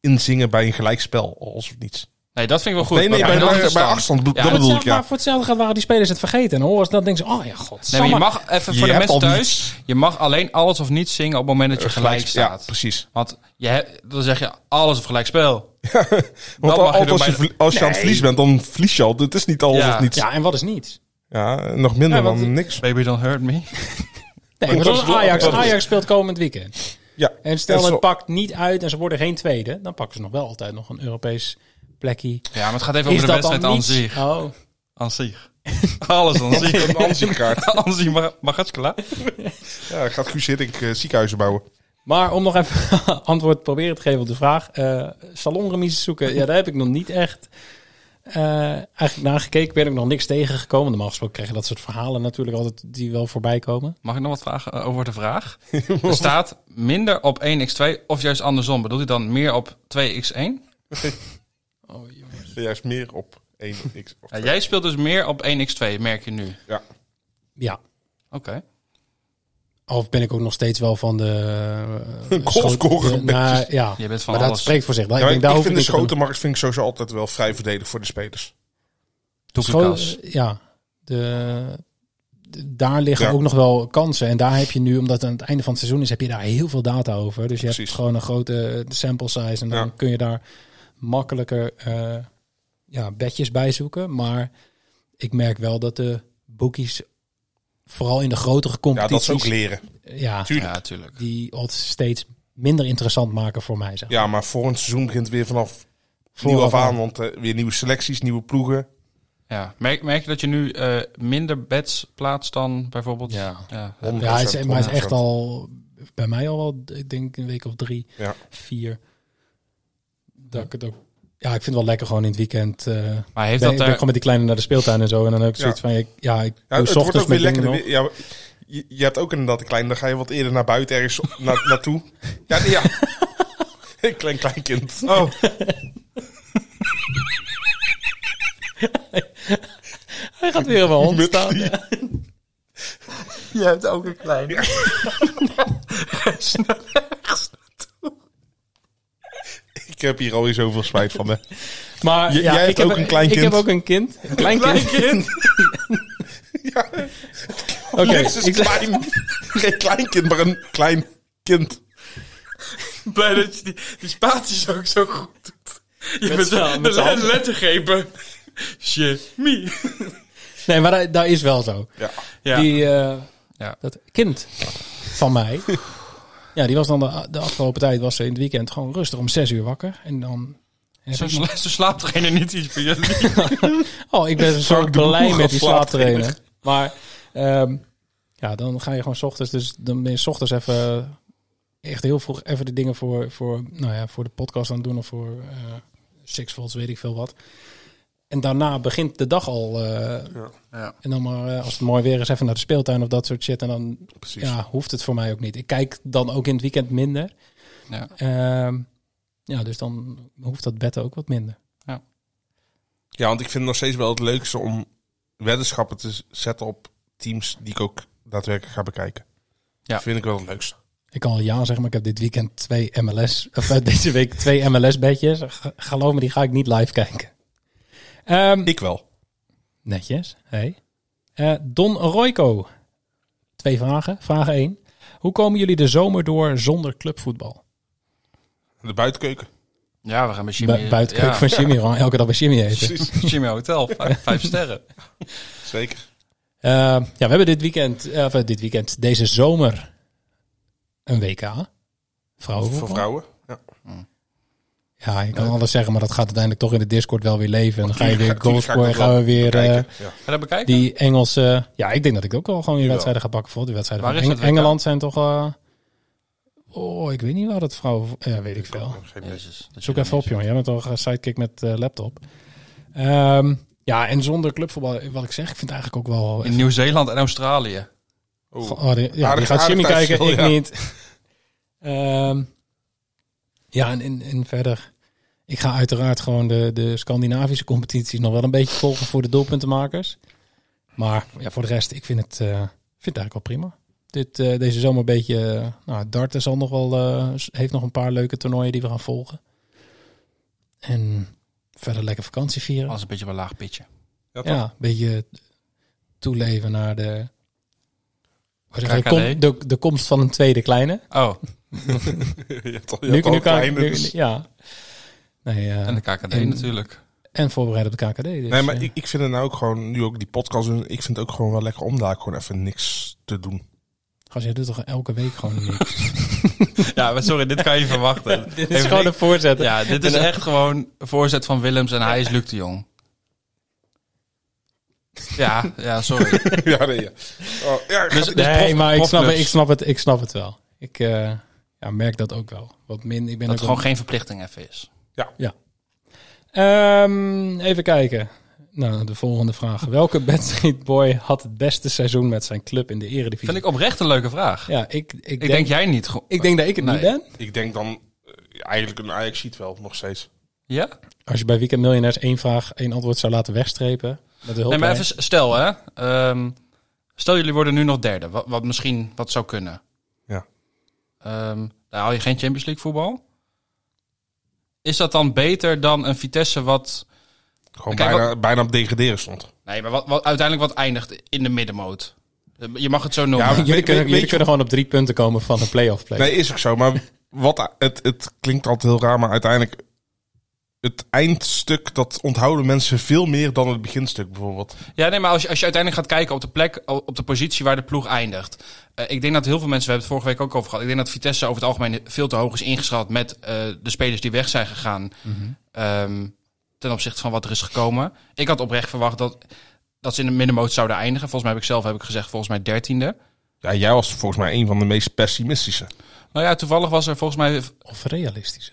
Speaker 9: inzingen bij een gelijkspel. Alles of niets.
Speaker 8: Nee, dat vind ik wel goed.
Speaker 9: nee, nee,
Speaker 8: Maar
Speaker 9: bij,
Speaker 8: dan
Speaker 9: bij,
Speaker 8: is
Speaker 9: bij
Speaker 8: het dan.
Speaker 9: afstand. bedo-
Speaker 8: Ja.
Speaker 9: Dat
Speaker 7: Maar
Speaker 9: bedoel ik,
Speaker 7: hetzelfde-
Speaker 9: ja.
Speaker 7: Maar voor hetzelfde geld waren die spelers het vergeten. En horen ze dat denken ze, oh ja, god.
Speaker 8: Nee, maar je mag even voor
Speaker 9: Je
Speaker 8: de
Speaker 9: hebt
Speaker 8: mensen
Speaker 9: al
Speaker 8: thuis.
Speaker 9: niets. Eh,
Speaker 8: Je mag alleen alles of niets zingen op het moment dat je gelijk
Speaker 9: Ja,
Speaker 8: staat. <laughs>
Speaker 9: precies.
Speaker 8: Want je hebt- dan zeg je alles of gelijk spel.
Speaker 9: <laughs> Want
Speaker 8: mag je
Speaker 9: altijd
Speaker 8: doen
Speaker 9: als je,
Speaker 8: bij de-
Speaker 9: vlie- als je aan het verlies bent, dan verlies je al. Het is niet alles
Speaker 8: Ja.
Speaker 9: of niets. Ja,
Speaker 7: Ja, en wat is niets?
Speaker 9: nog minder
Speaker 7: Ja, want-
Speaker 9: dan niks.
Speaker 8: Baby don't hurt me.
Speaker 7: Nee, maar
Speaker 9: dat
Speaker 7: zoals
Speaker 9: is wel-
Speaker 7: Ajax.
Speaker 9: dat is-
Speaker 7: Ajax speelt komend weekend.
Speaker 9: Ja.
Speaker 7: En stel
Speaker 9: En zo-
Speaker 7: het pakt niet uit en ze worden geen tweede, dan pakken ze nog wel altijd nog een Europees plekje.
Speaker 8: Ja, maar het gaat even
Speaker 7: Is
Speaker 8: over de
Speaker 7: dat
Speaker 8: wedstrijd
Speaker 7: dan
Speaker 8: aan
Speaker 7: niet?
Speaker 8: zich.
Speaker 7: Oh,
Speaker 8: <laughs> Aan zich. <laughs> Alles aan zich.
Speaker 9: Een
Speaker 8: <laughs>
Speaker 9: ansichtkaart.
Speaker 8: Aan zich mag, mag het klaar.
Speaker 9: Ja, gaat Guus Hiddink eh, ziekenhuizen bouwen.
Speaker 7: Maar om nog even <laughs> antwoord proberen te geven op de vraag. eh salonremises zoeken, ja, daar heb ik nog niet echt eh, eigenlijk naar gekeken. Ben ik nog niks tegengekomen. Normaal gesproken krijg je dat soort verhalen natuurlijk altijd die wel voorbij komen.
Speaker 8: Mag ik nog wat vragen eh, over de <laughs> vraag? Er staat minder op 1x2 of juist andersom. Bedoelt hij dan meer op 2x1?
Speaker 9: Juist meer op 1x.
Speaker 8: Ja, jij speelt dus meer op 1x2, merk je nu. Oké.
Speaker 7: Ja. Of ben ik ook nog steeds wel van de...
Speaker 8: <laughs>
Speaker 7: eh,
Speaker 9: Goalscorer
Speaker 7: schoot-
Speaker 9: een beetje.
Speaker 7: nou, ja,
Speaker 8: Je bent van
Speaker 7: maar dat
Speaker 8: alles.
Speaker 7: spreekt voor zich. Daar-
Speaker 9: Ja,
Speaker 7: ik
Speaker 9: maar
Speaker 7: denk,
Speaker 9: ik,
Speaker 7: daar
Speaker 9: ik
Speaker 7: hoef
Speaker 9: vind
Speaker 7: ik
Speaker 9: de
Speaker 7: niet te doen.
Speaker 9: schotenmarkt vind ik sowieso altijd wel vrij verdedig voor de spelers.
Speaker 8: Toegekas.
Speaker 7: Schoon- eh, ja, de, de- daar liggen
Speaker 9: Ja.
Speaker 7: ook nog wel kansen. En daar heb je nu, omdat het aan het einde van het seizoen is, heb je daar heel veel data over. Dus je
Speaker 9: Precies.
Speaker 7: hebt gewoon een grote eh, sample size. En dan
Speaker 9: Ja.
Speaker 7: kun je daar makkelijker eh ja, bedjes bij zoeken. Maar ik merk wel dat de bookies, vooral in de grotere
Speaker 9: Ja, dat is ook
Speaker 7: competities,
Speaker 9: leren.
Speaker 7: ja,
Speaker 9: Tuurlijk.
Speaker 8: Ja, natuurlijk.
Speaker 7: die odds steeds minder interessant maken voor mij. Zeg.
Speaker 9: Ja, maar volgend seizoen begint weer vanaf nieuw
Speaker 7: Vooraf
Speaker 9: af aan.
Speaker 7: aan.
Speaker 9: Want eh, weer nieuwe selecties, nieuwe ploegen.
Speaker 8: Ja. Merk, merk je dat je nu eh, minder bets plaatst dan bijvoorbeeld?
Speaker 7: Ja.
Speaker 8: ja.
Speaker 7: Ja, hij is,
Speaker 9: 100%,
Speaker 7: maar hij is echt
Speaker 9: 100%.
Speaker 7: al bij mij al wel, ik denk een week of drie,
Speaker 9: Ja.
Speaker 7: vier. Dat ik het ook. Ja, ik vind het wel lekker gewoon in het weekend. eh ben,
Speaker 8: Maar heeft
Speaker 7: ben ik
Speaker 8: dat er...
Speaker 7: gewoon met die kleine naar de speeltuin en zo. En dan heb ik
Speaker 9: Ja.
Speaker 7: zoiets van, ik- ja, ik
Speaker 9: Ja,
Speaker 7: doe
Speaker 9: het wordt
Speaker 7: ochtends
Speaker 9: ook weer
Speaker 7: mijn
Speaker 9: lekker.
Speaker 7: dingen
Speaker 9: de-
Speaker 7: nog.
Speaker 9: Ja, je, je hebt ook inderdaad een klein, dan ga je wat eerder naar buiten ergens na, <laughs> naartoe. Ja, nee, ja. <laughs> Een klein, klein kind.
Speaker 8: Oh,
Speaker 7: Hij gaat weer op
Speaker 9: <laughs>
Speaker 7: mijn <laughs> hond staan.
Speaker 8: je hebt ook een kleine.
Speaker 9: <laughs> Ik heb hier alweer zoveel spijt van. Hè.
Speaker 7: Maar
Speaker 9: J-
Speaker 7: ja,
Speaker 9: jij hebt
Speaker 7: ik heb
Speaker 9: ook een klein
Speaker 7: Ik
Speaker 9: kind.
Speaker 7: heb ook een kind. Een klein kind.
Speaker 9: <laughs> Ja,
Speaker 7: Oké,
Speaker 9: Jezus is
Speaker 7: ik zeg-
Speaker 9: klein. Geen klein kind, maar een klein kind.
Speaker 8: <laughs> Blij dat je die, die spaties ook zo goed doet. Je bent
Speaker 7: z'n-
Speaker 8: de,
Speaker 7: met z'n handen.
Speaker 8: lettergrepen. Shit. Me.
Speaker 7: Nee, maar dat, dat is wel zo.
Speaker 9: Ja.
Speaker 8: Ja.
Speaker 7: Die, eh,
Speaker 8: Ja.
Speaker 7: Dat kind van
Speaker 9: <laughs>
Speaker 7: mij. ja, die was dan de, de afgelopen tijd, was ze in het weekend gewoon rustig om zes uur wakker. En dan... heb
Speaker 8: Zo,
Speaker 7: ik nog-
Speaker 8: sla- zo slaapt degene niet iets bij jullie.
Speaker 7: Oh, ik ben zo
Speaker 9: de boel
Speaker 7: blij
Speaker 9: gaan
Speaker 7: met die
Speaker 9: slaaptrainen.
Speaker 7: slaaptrainer. Maar ehm, ja, dan ga je gewoon 's ochtends. Dus dan ben je 's ochtends even eh, echt heel vroeg even de dingen voor, voor, nou ja, voor de podcast aan het doen of voor eh Six Volts, weet ik veel wat. En daarna begint de dag al. eh,
Speaker 8: Ja.
Speaker 7: En dan maar, eh, als het mooi weer is, even naar de speeltuin of dat soort shit. En dan
Speaker 9: Precies.
Speaker 7: ja, hoeft het voor mij ook niet. Ik kijk dan ook in het weekend minder.
Speaker 8: Ja.
Speaker 7: Ehm, Ja, dus dan hoeft dat betten ook wat minder.
Speaker 9: Ja, want ik vind het nog steeds wel het leukste om weddenschappen te z- zetten op teams die ik ook daadwerkelijk ga bekijken.
Speaker 8: Ja.
Speaker 9: Dat vind ik wel het leukste.
Speaker 7: Ik kan al ja zeggen, maar ik heb dit weekend twee MLS, of eh, <laughs> deze week twee MLS-bedjes. Ge- Geloof me, die ga ik niet live kijken. Ehm,
Speaker 9: Ik wel.
Speaker 7: Netjes. Hey. Eh, Don Royco. Twee vragen. Vraag 1. Hoe komen jullie de zomer door zonder clubvoetbal?
Speaker 9: De buitenkeuken.
Speaker 8: Ja, we gaan met Jimmy...
Speaker 9: eh,
Speaker 7: Bu buitenkeuken
Speaker 8: ja.
Speaker 7: van Jimmy. gewoon Elke dag bij Jimmy eten.
Speaker 8: Precies. Jimmy Hotel,
Speaker 7: <laughs>
Speaker 8: vijf, vijf sterren.
Speaker 9: Zeker.
Speaker 7: Eh, ja, we hebben dit weekend, eh, of eh, dit weekend, deze zomer een WK. Vrouwen.
Speaker 9: Voor vrouwen. Ja.
Speaker 7: Ja, je kan alles zeggen, maar dat gaat uiteindelijk toch in de Discord wel weer leven. En dan ga je
Speaker 9: Tuurlijk
Speaker 7: weer
Speaker 9: ga- tuurlijk ga ik
Speaker 7: goalscoren, gaan
Speaker 9: dat
Speaker 7: we
Speaker 9: wel
Speaker 7: weer eh,
Speaker 9: bekijken. Ja.
Speaker 8: Ga je dat bekijken?
Speaker 7: die Engelse... Ja, ik denk dat ik ook wel gewoon weer
Speaker 9: Jawel.
Speaker 7: wedstrijden ga pakken. Voor die wedstrijden
Speaker 8: Waar
Speaker 7: van
Speaker 8: is
Speaker 7: Eng-
Speaker 8: dat WK?
Speaker 7: Engeland zijn toch... eh, oh, ik weet niet waar dat vrouw... Ja, weet ik veel.
Speaker 9: Geen idee.
Speaker 8: Jezus, dat
Speaker 7: Zoek
Speaker 8: je
Speaker 7: even op, jongen. Jij bent toch een sidekick met eh, laptop. Ehm, ja, en zonder clubvoetbal, wat ik zeg, ik vind het eigenlijk ook wel...
Speaker 8: In Nieuw-Zeeland en Australië.
Speaker 9: Oeh.
Speaker 7: Oh, die, ja, die
Speaker 9: Aardig-
Speaker 7: gaat Jimmy
Speaker 9: aardig
Speaker 7: kijken, ik
Speaker 9: tijdsverschil, ja.
Speaker 7: niet. <laughs> Ehm, ja, en, en, en verder. Ik ga uiteraard gewoon de, de Scandinavische competities nog wel een beetje volgen voor de doelpuntenmakers. Maar ja, voor de rest, ik vind het, eh, vind het eigenlijk wel prima. Dit, eh, deze zomer een beetje... eh, nou, darten zal nog wel, eh, s- heeft nog een paar leuke toernooien die we gaan volgen. En verder lekker vakantie vieren.
Speaker 8: Alles een beetje wel laag pitje.
Speaker 9: Ja, Oh, toch?
Speaker 7: <laughs> Ja, een beetje toeleven naar de, hoe zeg je,
Speaker 8: KKD?
Speaker 7: kom- de, de komst van een tweede kleine.
Speaker 8: Oh,
Speaker 9: <laughs> Je hebt al- je
Speaker 7: Nu,
Speaker 9: hebt al
Speaker 7: nu kan
Speaker 9: kleine,
Speaker 7: ik, nu-
Speaker 9: dus-
Speaker 7: ja. Nee, eh,
Speaker 8: en de KKD
Speaker 7: in-
Speaker 8: natuurlijk.
Speaker 7: en voorbereid op de KKD. Dus,
Speaker 9: Nee, maar
Speaker 7: eh,
Speaker 9: ik, ik vind het nou ook gewoon, nu ook die podcast doen, ik vind het ook gewoon wel lekker om daar gewoon even niks te doen. <laughs>
Speaker 7: Gast, jij doet toch elke week gewoon niks?
Speaker 8: Ja, maar sorry, dit kan je verwachten.
Speaker 7: <laughs> Dit is
Speaker 8: Even
Speaker 7: gewoon een
Speaker 8: niks.
Speaker 7: voorzet.
Speaker 8: Ja, dit is echt gewoon een voorzet van Willems en hij is Luc de Jong. Ja, ja, sorry.
Speaker 9: ja, nee, ja. Oh, ja,
Speaker 8: Dus,
Speaker 9: gaat-
Speaker 8: dus
Speaker 7: nee,
Speaker 8: prof-
Speaker 7: maar ik snap, het,
Speaker 8: profclubs.
Speaker 7: ik, snap het, ik snap het wel. Ik eh, ja, merk dat ook wel. Wat min, ik ben
Speaker 8: Dat
Speaker 7: ook
Speaker 8: het gewoon geen verplichting even is.
Speaker 7: Ehm, even kijken. Nou, de volgende vraag. Welke <laughs> Bad Street Boy had het beste seizoen met zijn club in de eredivisie?
Speaker 8: Vind ik oprecht een leuke vraag.
Speaker 7: ja, ik, ik,
Speaker 8: Ik
Speaker 7: denk,
Speaker 8: denk jij niet. gewoon-
Speaker 7: ik denk dat ik het
Speaker 8: Nee.
Speaker 7: niet ben.
Speaker 9: Ik denk dan eh, eigenlijk een Ajax ziet wel nog steeds.
Speaker 8: Ja?
Speaker 7: Als je bij Weekend Miljonairs één vraag, één antwoord zou laten wegstrepen. Met de hulp
Speaker 8: Nee, maar even s- stel hè. ehm, stel jullie worden nu nog derde. Wat, wat misschien wat zou kunnen.
Speaker 9: Ja.
Speaker 8: Ehm, daar haal je geen Champions League voetbal. Is dat dan beter dan een Vitesse wat...
Speaker 9: Gewoon
Speaker 8: Kijk,
Speaker 9: bijna, bijna op degraderen stond.
Speaker 8: Nee, maar wat, wat uiteindelijk wat eindigt in de middenmoot. Je mag het zo noemen.
Speaker 9: Ja,
Speaker 7: jullie
Speaker 9: Weet-
Speaker 7: kunnen,
Speaker 9: weet-
Speaker 7: jullie
Speaker 9: weet-
Speaker 7: kunnen gewoon op drie punten komen van een play-off play.
Speaker 9: Nee, is ook zo. Maar wat, het, het klinkt altijd heel raar, maar uiteindelijk... Het eindstuk, dat onthouden mensen veel meer dan het beginstuk bijvoorbeeld.
Speaker 8: Ja, nee, maar als je, als je uiteindelijk gaat kijken op de plek, o- op de positie waar de ploeg eindigt. Eh, ik denk dat heel veel mensen, we hebben het vorige week ook over gehad. Ik denk dat Vitesse over het algemeen veel te hoog is ingeschat met eh, de spelers die weg zijn gegaan. ehm, ten opzichte van wat er is gekomen. Ik had oprecht verwacht dat, dat ze in de middenmoot zouden eindigen. Volgens mij heb ik zelf heb ik gezegd, volgens mij dertiende.
Speaker 9: Ja, jij was volgens mij een van de meest pessimistische.
Speaker 8: Nou ja, toevallig was er volgens mij
Speaker 7: Of realistische.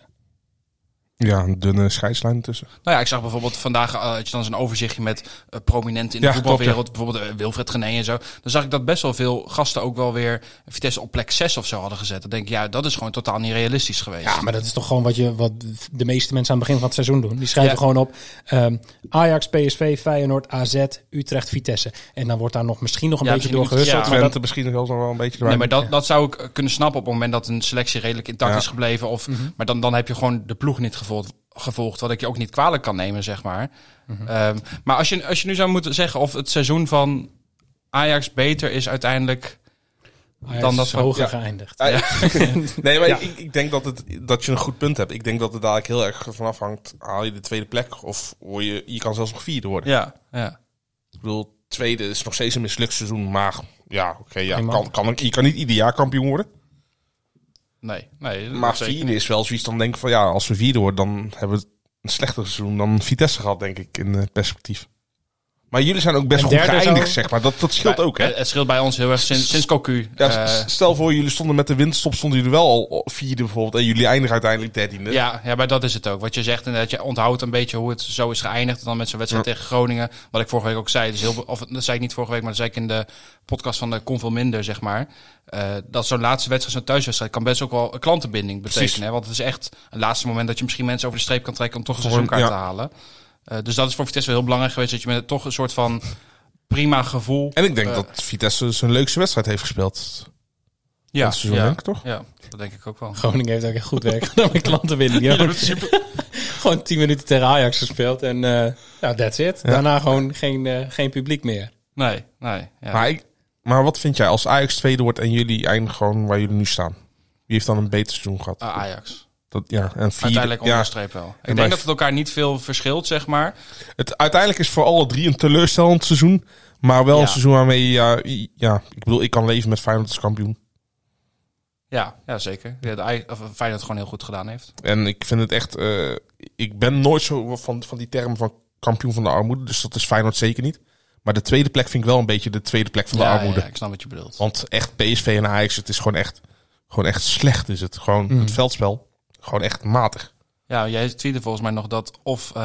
Speaker 9: Ja, een dunne scheidslijn tussen.
Speaker 8: Nou ja, ik zag bijvoorbeeld vandaag eh, had je dan zo'n overzichtje met eh, prominenten in de
Speaker 9: Ja,
Speaker 8: voetbalwereld. Bijvoorbeeld eh, Wilfred Gené en zo. Dan zag ik dat best wel veel gasten ook wel weer Vitesse op plek 6 of zo hadden gezet. Dan denk ik, ja, dat is gewoon totaal niet realistisch geweest.
Speaker 7: Ja, maar dat is toch gewoon wat, je, wat de meeste mensen aan het begin van het seizoen doen. Die schrijven
Speaker 8: Ja.
Speaker 7: gewoon op ehm, Ajax, PSV, Feyenoord, AZ, Utrecht, Vitesse. En dan wordt daar nog misschien nog een
Speaker 8: Ja,
Speaker 7: beetje door
Speaker 8: misschien iets-
Speaker 7: gehusteld.
Speaker 8: ja.
Speaker 7: maar dat-
Speaker 9: Twente misschien nog wel nog wel een beetje erbij.
Speaker 8: Nee, maar dat, dat zou ik eh, kunnen snappen op het moment dat een selectie redelijk intact
Speaker 9: Ja.
Speaker 8: is gebleven. Of,
Speaker 9: Mhm.
Speaker 8: Maar dan, dan heb je gewoon de ploeg niet gevolgd, gevolgd. Wat ik je ook niet kwalijk kan nemen, zeg maar.
Speaker 9: Mhm.
Speaker 8: Ehm, maar als je, als je nu zou moeten zeggen of het seizoen van Ajax beter is uiteindelijk...
Speaker 7: Ajax
Speaker 8: dan dat
Speaker 7: is
Speaker 8: van-
Speaker 7: hoger
Speaker 9: ja.
Speaker 7: geëindigd.
Speaker 9: Nee, maar ik, ik denk dat, het, dat je een goed punt hebt. Ik denk dat het dadelijk heel erg van afhangt. Haal je de tweede plek of word je, je kan zelfs nog vierde worden.
Speaker 8: Ja, ja.
Speaker 9: Ik bedoel, tweede is nog steeds een mislukt seizoen. Maar ja, oké, ja,
Speaker 7: Prima.
Speaker 9: kan, kan, je kan niet ieder jaar kampioen worden.
Speaker 8: Nee, nee. dat
Speaker 9: Maar
Speaker 8: zeker
Speaker 9: vierde is wel zoiets dan denk ik van ja, als we vierde worden, dan hebben we een slechter seizoen dan Vitesse gehad, denk ik, in eh, perspectief. Maar jullie zijn ook best
Speaker 7: En
Speaker 9: goed
Speaker 7: derde
Speaker 9: geëindigd,
Speaker 7: zo?
Speaker 9: zeg maar. Dat, dat scheelt ook, hè?
Speaker 8: Het scheelt bij ons heel erg sinds, sinds Cocu.
Speaker 9: Ja,
Speaker 8: eh,
Speaker 9: s- stel voor, jullie stonden met de winststop, stonden jullie wel al vierde bijvoorbeeld. En jullie eindigen uiteindelijk dertiende.
Speaker 8: ja, ja, maar dat is het ook. Wat je zegt, en dat je onthoudt een beetje hoe het zo is geëindigd. En dan met zo'n wedstrijd tegen Groningen. Wat ik vorige week ook zei. Dus heel, be- of dat zei ik niet vorige week, maar dat zei ik in de podcast van de Kon Veel Minder, zeg maar. eh, dat zo'n laatste wedstrijd, zo'n thuiswedstrijd, kan best ook wel een klantenbinding betekenen. Hè? Want het is echt een laatste moment dat je misschien mensen over de streep kan trekken om toch een
Speaker 9: Gewoon,
Speaker 8: seizoenkaart
Speaker 9: ja.
Speaker 8: te halen. Eh, dus dat is voor Vitesse wel heel belangrijk geweest. Dat je met toch een soort van prima gevoel.
Speaker 9: En ik denk
Speaker 8: eh,
Speaker 9: dat Vitesse zijn leukste wedstrijd heeft gespeeld.
Speaker 8: ja,
Speaker 9: dat seizoen,
Speaker 8: ja,
Speaker 9: denk ik, toch?
Speaker 8: Ja, dat denk ik ook wel.
Speaker 7: Groningen heeft ook echt goed
Speaker 8: <laughs>
Speaker 7: werk gedaan met klanten winnen. Die hebben gewoon 10 minuten tegen Ajax gespeeld en eh ja, that's it. Daarna gewoon geen, eh, geen publiek meer.
Speaker 8: Nee, nee. Ja.
Speaker 9: Maar, ik, maar wat vind jij als Ajax tweede wordt en jullie eindigen gewoon waar jullie nu staan? Wie heeft dan een beter seizoen gehad?
Speaker 8: Ah, Ajax.
Speaker 9: Dat, ja, en vierde,
Speaker 8: Uiteindelijk
Speaker 9: ja,
Speaker 8: onderstreep wel.
Speaker 9: En
Speaker 8: Ik denk
Speaker 9: bij-
Speaker 8: dat het elkaar niet veel verschilt, zeg maar.
Speaker 9: het, uiteindelijk is voor alle drie een teleurstellend seizoen. Maar wel
Speaker 8: Ja.
Speaker 9: een seizoen waarmee je... Ja, i- ja, ik bedoel, ik kan leven met Feyenoord als kampioen.
Speaker 8: Ja, ja zeker. Ja, de, Aj- of eh, Feyenoord gewoon heel goed gedaan heeft.
Speaker 9: En ik vind het echt... eh, ik ben nooit zo van, van die term van kampioen van de armoede. Dus dat is Feyenoord zeker niet. Maar de tweede plek vind ik wel een beetje de tweede plek van de
Speaker 8: ja,
Speaker 9: armoede.
Speaker 8: ja, ik snap wat je bedoelt.
Speaker 9: Want echt PSV en Ajax, het is gewoon echt, gewoon echt slecht. Is het gewoon
Speaker 8: Mm.
Speaker 9: het veldspel. Gewoon echt matig.
Speaker 8: Ja, jij tweette volgens mij nog dat of, eh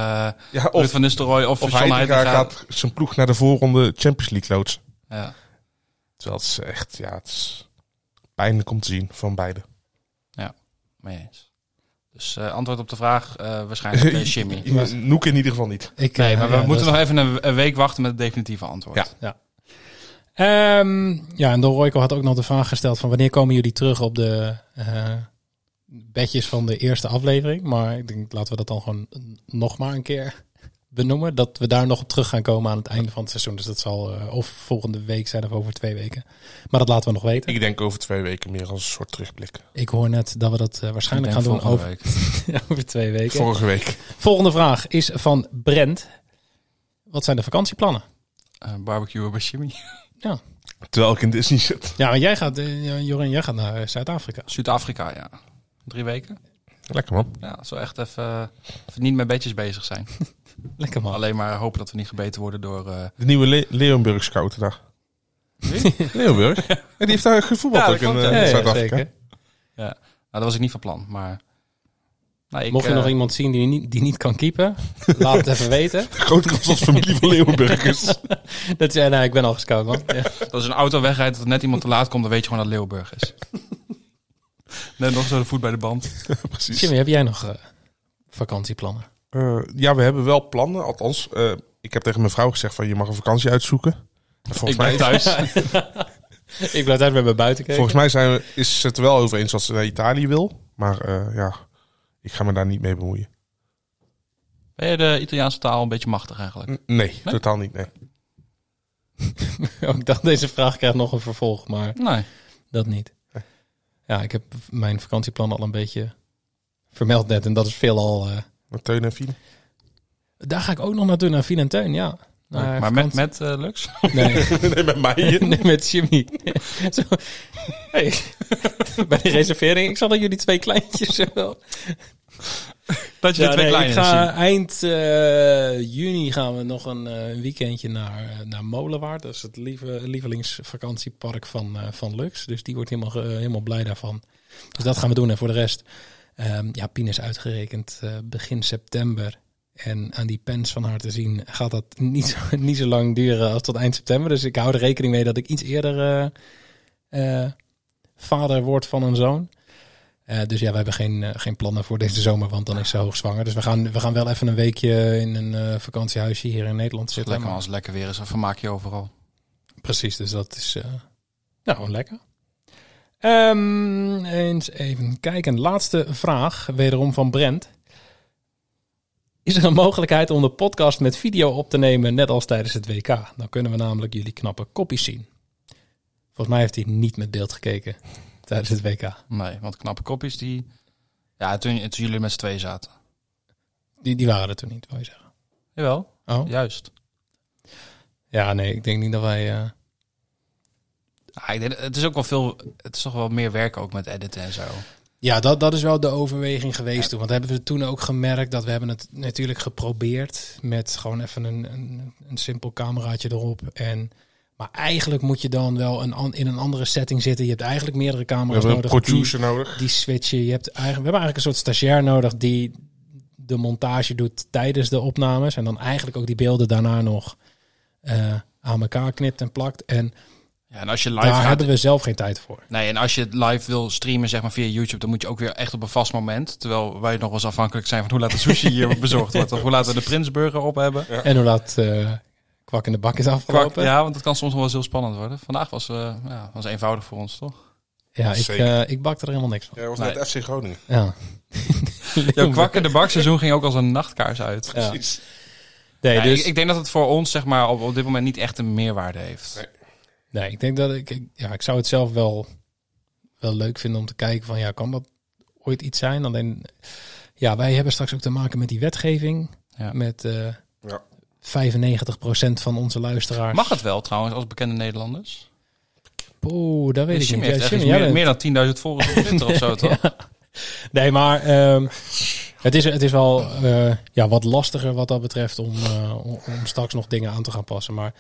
Speaker 9: Ja,
Speaker 8: Ruud van Nistelrooy of,
Speaker 9: Of
Speaker 8: John
Speaker 9: hij
Speaker 8: Heitinga...
Speaker 9: gaat zijn ploeg naar de voorronde Champions League loods.
Speaker 8: Ja,
Speaker 9: Terwijl het is echt, ja, het is pijnlijk om te zien van beide.
Speaker 8: mee eens. Dus eh, antwoord op de vraag eh, waarschijnlijk
Speaker 9: <laughs>
Speaker 8: eh, Jimmy.
Speaker 9: Noek in ieder geval niet.
Speaker 7: Ik, eh,
Speaker 8: Nee, maar we moeten nog even een, een week wachten met het definitieve antwoord.
Speaker 9: Ja.
Speaker 7: Ehm, ja, en Don Royko had ook nog de vraag gesteld van wanneer komen jullie terug op de eh bedjes van de eerste aflevering. Maar ik denk, laten we dat dan gewoon nog maar een keer benoemen. Dat we daar nog op terug gaan komen aan het einde van het seizoen. Dus dat zal eh, of volgende week zijn of over twee weken. Maar dat laten we nog weten. Ik,
Speaker 9: Ik denk over twee weken meer als een soort terugblik.
Speaker 7: hoor net dat we dat eh,
Speaker 8: Ik
Speaker 7: waarschijnlijk
Speaker 8: denk
Speaker 7: gaan doen
Speaker 8: volgende
Speaker 7: over,
Speaker 8: week.
Speaker 7: <laughs> over twee weken.
Speaker 9: Vorige week.
Speaker 7: Volgende vraag is van Brent. Wat zijn de vakantieplannen?
Speaker 8: Eh, barbecue bij Jimmy. <laughs>
Speaker 9: Terwijl ik in Disney zit.
Speaker 7: Ja, want jij gaat, eh, Jorin, jij gaat naar eh, Zuid-Afrika.
Speaker 8: Zuid-Afrika, ja. Drie weken.
Speaker 9: Lekker man.
Speaker 8: Ja, zo echt even, eh, even niet met beetjes bezig zijn.
Speaker 7: Lekker man.
Speaker 8: Alleen maar hopen dat we niet gebeten worden door... eh,
Speaker 9: De nieuwe Le Leeuwenburg scout daar. <laughs> Leeuwenburg? Ja, die heeft daar gevoetbald
Speaker 8: Ja, dat
Speaker 9: ook in
Speaker 8: klopt,
Speaker 9: eh,
Speaker 8: ja. Ja, ja,
Speaker 9: Zuid-Afrika. <laughs>
Speaker 7: zeker.
Speaker 8: Nou, dat was ik niet van plan, maar... Nou, ik,
Speaker 7: Mocht je
Speaker 8: eh,
Speaker 7: nog iemand zien die niet, die niet kan
Speaker 8: <laughs>
Speaker 7: keepen, laat het even weten.
Speaker 9: Grote kans als familie van Leeuwenburg <laughs> is.
Speaker 7: Dat jij, nou, ik ben al gescout, man. Ja.
Speaker 8: Dat is een auto wegrijdt dat er net iemand te laat komt, dan weet je gewoon dat Leeuwburg is. <laughs> Net nog zo de voet bij de band.
Speaker 9: Precies.
Speaker 7: Jimmy, heb jij nog eh, vakantieplannen?
Speaker 9: Eh, ja, we hebben wel plannen. Althans, eh, ik heb tegen mijn vrouw gezegd van je mag een vakantie uitzoeken. En Volgens
Speaker 8: ik blijf <laughs> thuis.
Speaker 7: Ik blijf daar weer bij buiten kijken.
Speaker 9: Volgens mij zijn we, is het er wel over eens dat ze naar Italië wil. Maar eh, ja, ik ga me daar niet mee bemoeien.
Speaker 8: Ben je de Italiaanse taal een beetje machtig eigenlijk?
Speaker 9: N- nee, totaal niet. Nee.
Speaker 7: <laughs> Ook ik dacht, deze vraag krijgt nog een vervolg, maar
Speaker 8: Nee.
Speaker 7: dat niet. Ja, ik heb mijn vakantieplannen al een beetje vermeld net. En dat is veelal... eh
Speaker 9: Met Teun en Fien.
Speaker 7: daar ga ik ook nog naartoe, naar Fien en Teun, ja. Naar
Speaker 8: maar met,
Speaker 7: vakantie-
Speaker 8: met eh, Lux?
Speaker 7: Nee.
Speaker 9: <laughs> nee, met mij.
Speaker 7: Nee, <laughs> met Jimmy. Zo. Hey. Bij de reservering, ik zal dat jullie twee kleintjes <laughs> eh, wel.
Speaker 8: <laughs> Dat je de twee
Speaker 7: ik
Speaker 8: kleine
Speaker 7: ga
Speaker 8: ziet.
Speaker 7: eind eh, juni gaan we nog een eh, weekendje naar, eh, naar Molenwaard. Dat is het lieve, lievelingsvakantiepark van, eh, van Lux. Dus die wordt helemaal, ge- helemaal blij daarvan. Dus dat gaan we doen. En voor de rest, ehm, ja, Pien is uitgerekend eh, begin september. En aan die pens van haar te zien gaat dat niet zo, <laughs> niet zo lang duren als tot eind september. Dus ik hou er rekening mee dat ik iets eerder eh, eh, vader word van een zoon. Eh, dus ja, we hebben geen, eh, geen plannen voor deze zomer, want dan is ze hoogzwanger. Dus we gaan, we gaan wel even een weekje in een eh, vakantiehuisje hier in Nederland zitten.
Speaker 8: Lekker man,
Speaker 7: Maar-
Speaker 8: als het lekker weer is, dan vermaak je overal.
Speaker 7: Precies, dus dat is eh nou, gewoon lekker. Ehm, eens even kijken. Laatste vraag, wederom van Brent. Is er een mogelijkheid om de podcast met video op te nemen, net als tijdens het WK? Dan kunnen we namelijk jullie knappe kopjes zien. Volgens mij heeft hij niet met beeld gekeken tijdens het WK.
Speaker 8: Nee, want knappe kopjes die... Ja, toen, toen jullie met z'n tweeën zaten.
Speaker 7: Die, die waren er toen niet, wil je zeggen.
Speaker 8: Jawel,
Speaker 7: Oh?
Speaker 8: juist.
Speaker 7: Ja, nee, ik denk niet dat wij... eh,
Speaker 8: Ja, ik denk, het is ook wel veel... Het is toch wel meer werk ook met editen en zo.
Speaker 7: Ja, dat, dat is wel de overweging geweest toen. Want hebben we toen ook gemerkt dat we hebben het natuurlijk geprobeerd met gewoon even een, een, een simpel cameraatje erop. En, maar eigenlijk moet je dan wel een, an- in een andere setting zitten. Je hebt eigenlijk meerdere
Speaker 9: We
Speaker 7: camera's
Speaker 9: hebben een
Speaker 7: nodig. die-
Speaker 9: producer nodig.
Speaker 7: die switchen. Je hebt eigenlijk, we hebben eigenlijk een soort stagiair nodig die de montage doet tijdens de opnames. En dan eigenlijk ook die beelden daarna nog eh, aan elkaar knipt en plakt. En
Speaker 8: Ja, en als je live
Speaker 7: daar
Speaker 8: gaat...
Speaker 7: hebben we zelf geen tijd voor.
Speaker 8: Nee, en als je het live wil streamen zeg maar, via YouTube, dan moet je ook weer echt op een vast moment. Terwijl wij nog wel eens afhankelijk zijn van hoe laat de sushi hier bezorgd wordt. Of hoe laat we de Prinsburger op hebben.
Speaker 7: En hoe laat eh, kwak in de bak is afgelopen.
Speaker 8: Kwak- ja, want dat kan soms nog wel eens heel spannend worden. Vandaag was, eh, ja, was eenvoudig voor ons, toch?
Speaker 7: Ja, ik,
Speaker 9: Zeker.
Speaker 7: eh, ik bakte er helemaal niks van.
Speaker 9: Ja, was
Speaker 8: Nee.
Speaker 9: net FC Groningen.
Speaker 8: <laughs>
Speaker 7: Ja. <laughs>
Speaker 8: Jouw kwak in de bakseizoen ging ook als een nachtkaars uit.
Speaker 7: Ja.
Speaker 9: Precies.
Speaker 7: Nee,
Speaker 8: Ja,
Speaker 7: dus,
Speaker 8: ik, ik denk dat het voor ons zeg maar, op, op dit moment niet echt een meerwaarde heeft.
Speaker 9: Nee.
Speaker 7: nee, ik denk dat ik, ik- ja, ik zou het zelf wel, wel leuk vinden om te kijken van ja, kan dat ooit iets zijn? Alleen, ja, wij hebben straks ook te maken met die wetgeving.
Speaker 8: Ja.
Speaker 7: Met eh,
Speaker 9: Ja.
Speaker 7: 95% van onze luisteraars.
Speaker 8: Mag het wel trouwens, als bekende Nederlanders?
Speaker 7: Oeh, dat weet ik
Speaker 8: Jimmy
Speaker 7: niet. Ja,
Speaker 8: heeft echt
Speaker 7: Jimmy,
Speaker 8: iets
Speaker 7: jij
Speaker 8: meer,
Speaker 7: bent-
Speaker 8: meer dan 10.000 volgers op Twitter of
Speaker 7: <laughs>
Speaker 8: zo, <laughs> toch?
Speaker 7: Nee, maar ehm, het, is, het is wel eh, ja, wat lastiger wat dat betreft om, eh, om, om straks nog dingen aan te gaan passen. Maar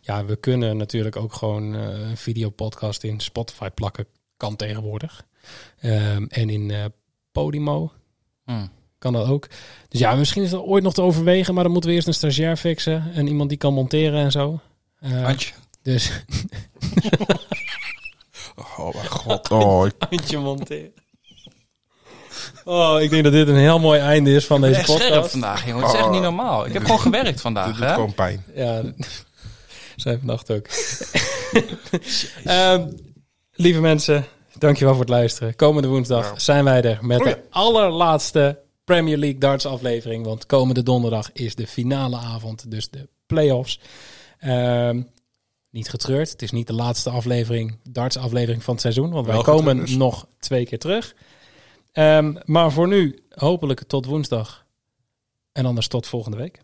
Speaker 7: ja, we kunnen natuurlijk ook gewoon eh, een videopodcast in Spotify plakken. Kan tegenwoordig. Ehm, en in eh, Podimo
Speaker 8: Hm.
Speaker 7: kan dat ook. Dus ja, misschien is dat ooit nog te overwegen. Maar dan moeten we eerst een stagiair fixen. En iemand die kan monteren en zo. Eh,
Speaker 8: Antje.
Speaker 7: dus
Speaker 8: <laughs>
Speaker 9: Oh <laughs> mijn god. Oh, ik-
Speaker 7: eindje monteren. Oh, ik denk dat dit een heel mooi einde is van deze
Speaker 8: <laughs> Echt scherp
Speaker 7: podcast.
Speaker 8: vandaag, jongen. Het is echt niet normaal. Ik heb
Speaker 9: <laughs>
Speaker 8: gewoon gewerkt
Speaker 9: Oh. dit
Speaker 8: vandaag,
Speaker 9: doet
Speaker 8: hè?
Speaker 9: gewoon pijn.
Speaker 7: Ja, <laughs> zijn vannacht ook. Ehm, lieve mensen, dankjewel voor het luisteren. Komende woensdag zijn wij er met de allerlaatste Premier League darts aflevering. Want komende donderdag is de finale avond, dus de play-offs. Ehm, niet getreurd, het is niet de laatste aflevering, darts aflevering van het seizoen. Want wij
Speaker 9: Wel
Speaker 7: komen
Speaker 9: getreurd dus.
Speaker 7: nog twee keer terug. Ehm, maar voor nu, hopelijk tot woensdag. En anders tot volgende week.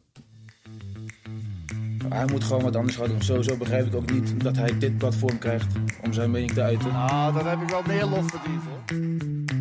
Speaker 12: Hij moet gewoon wat anders gaan doen. Sowieso begrijp ik ook niet dat hij dit platform krijgt om zijn mening te uiten.
Speaker 4: Ah, dan heb ik wel meer lof verdiend hoor.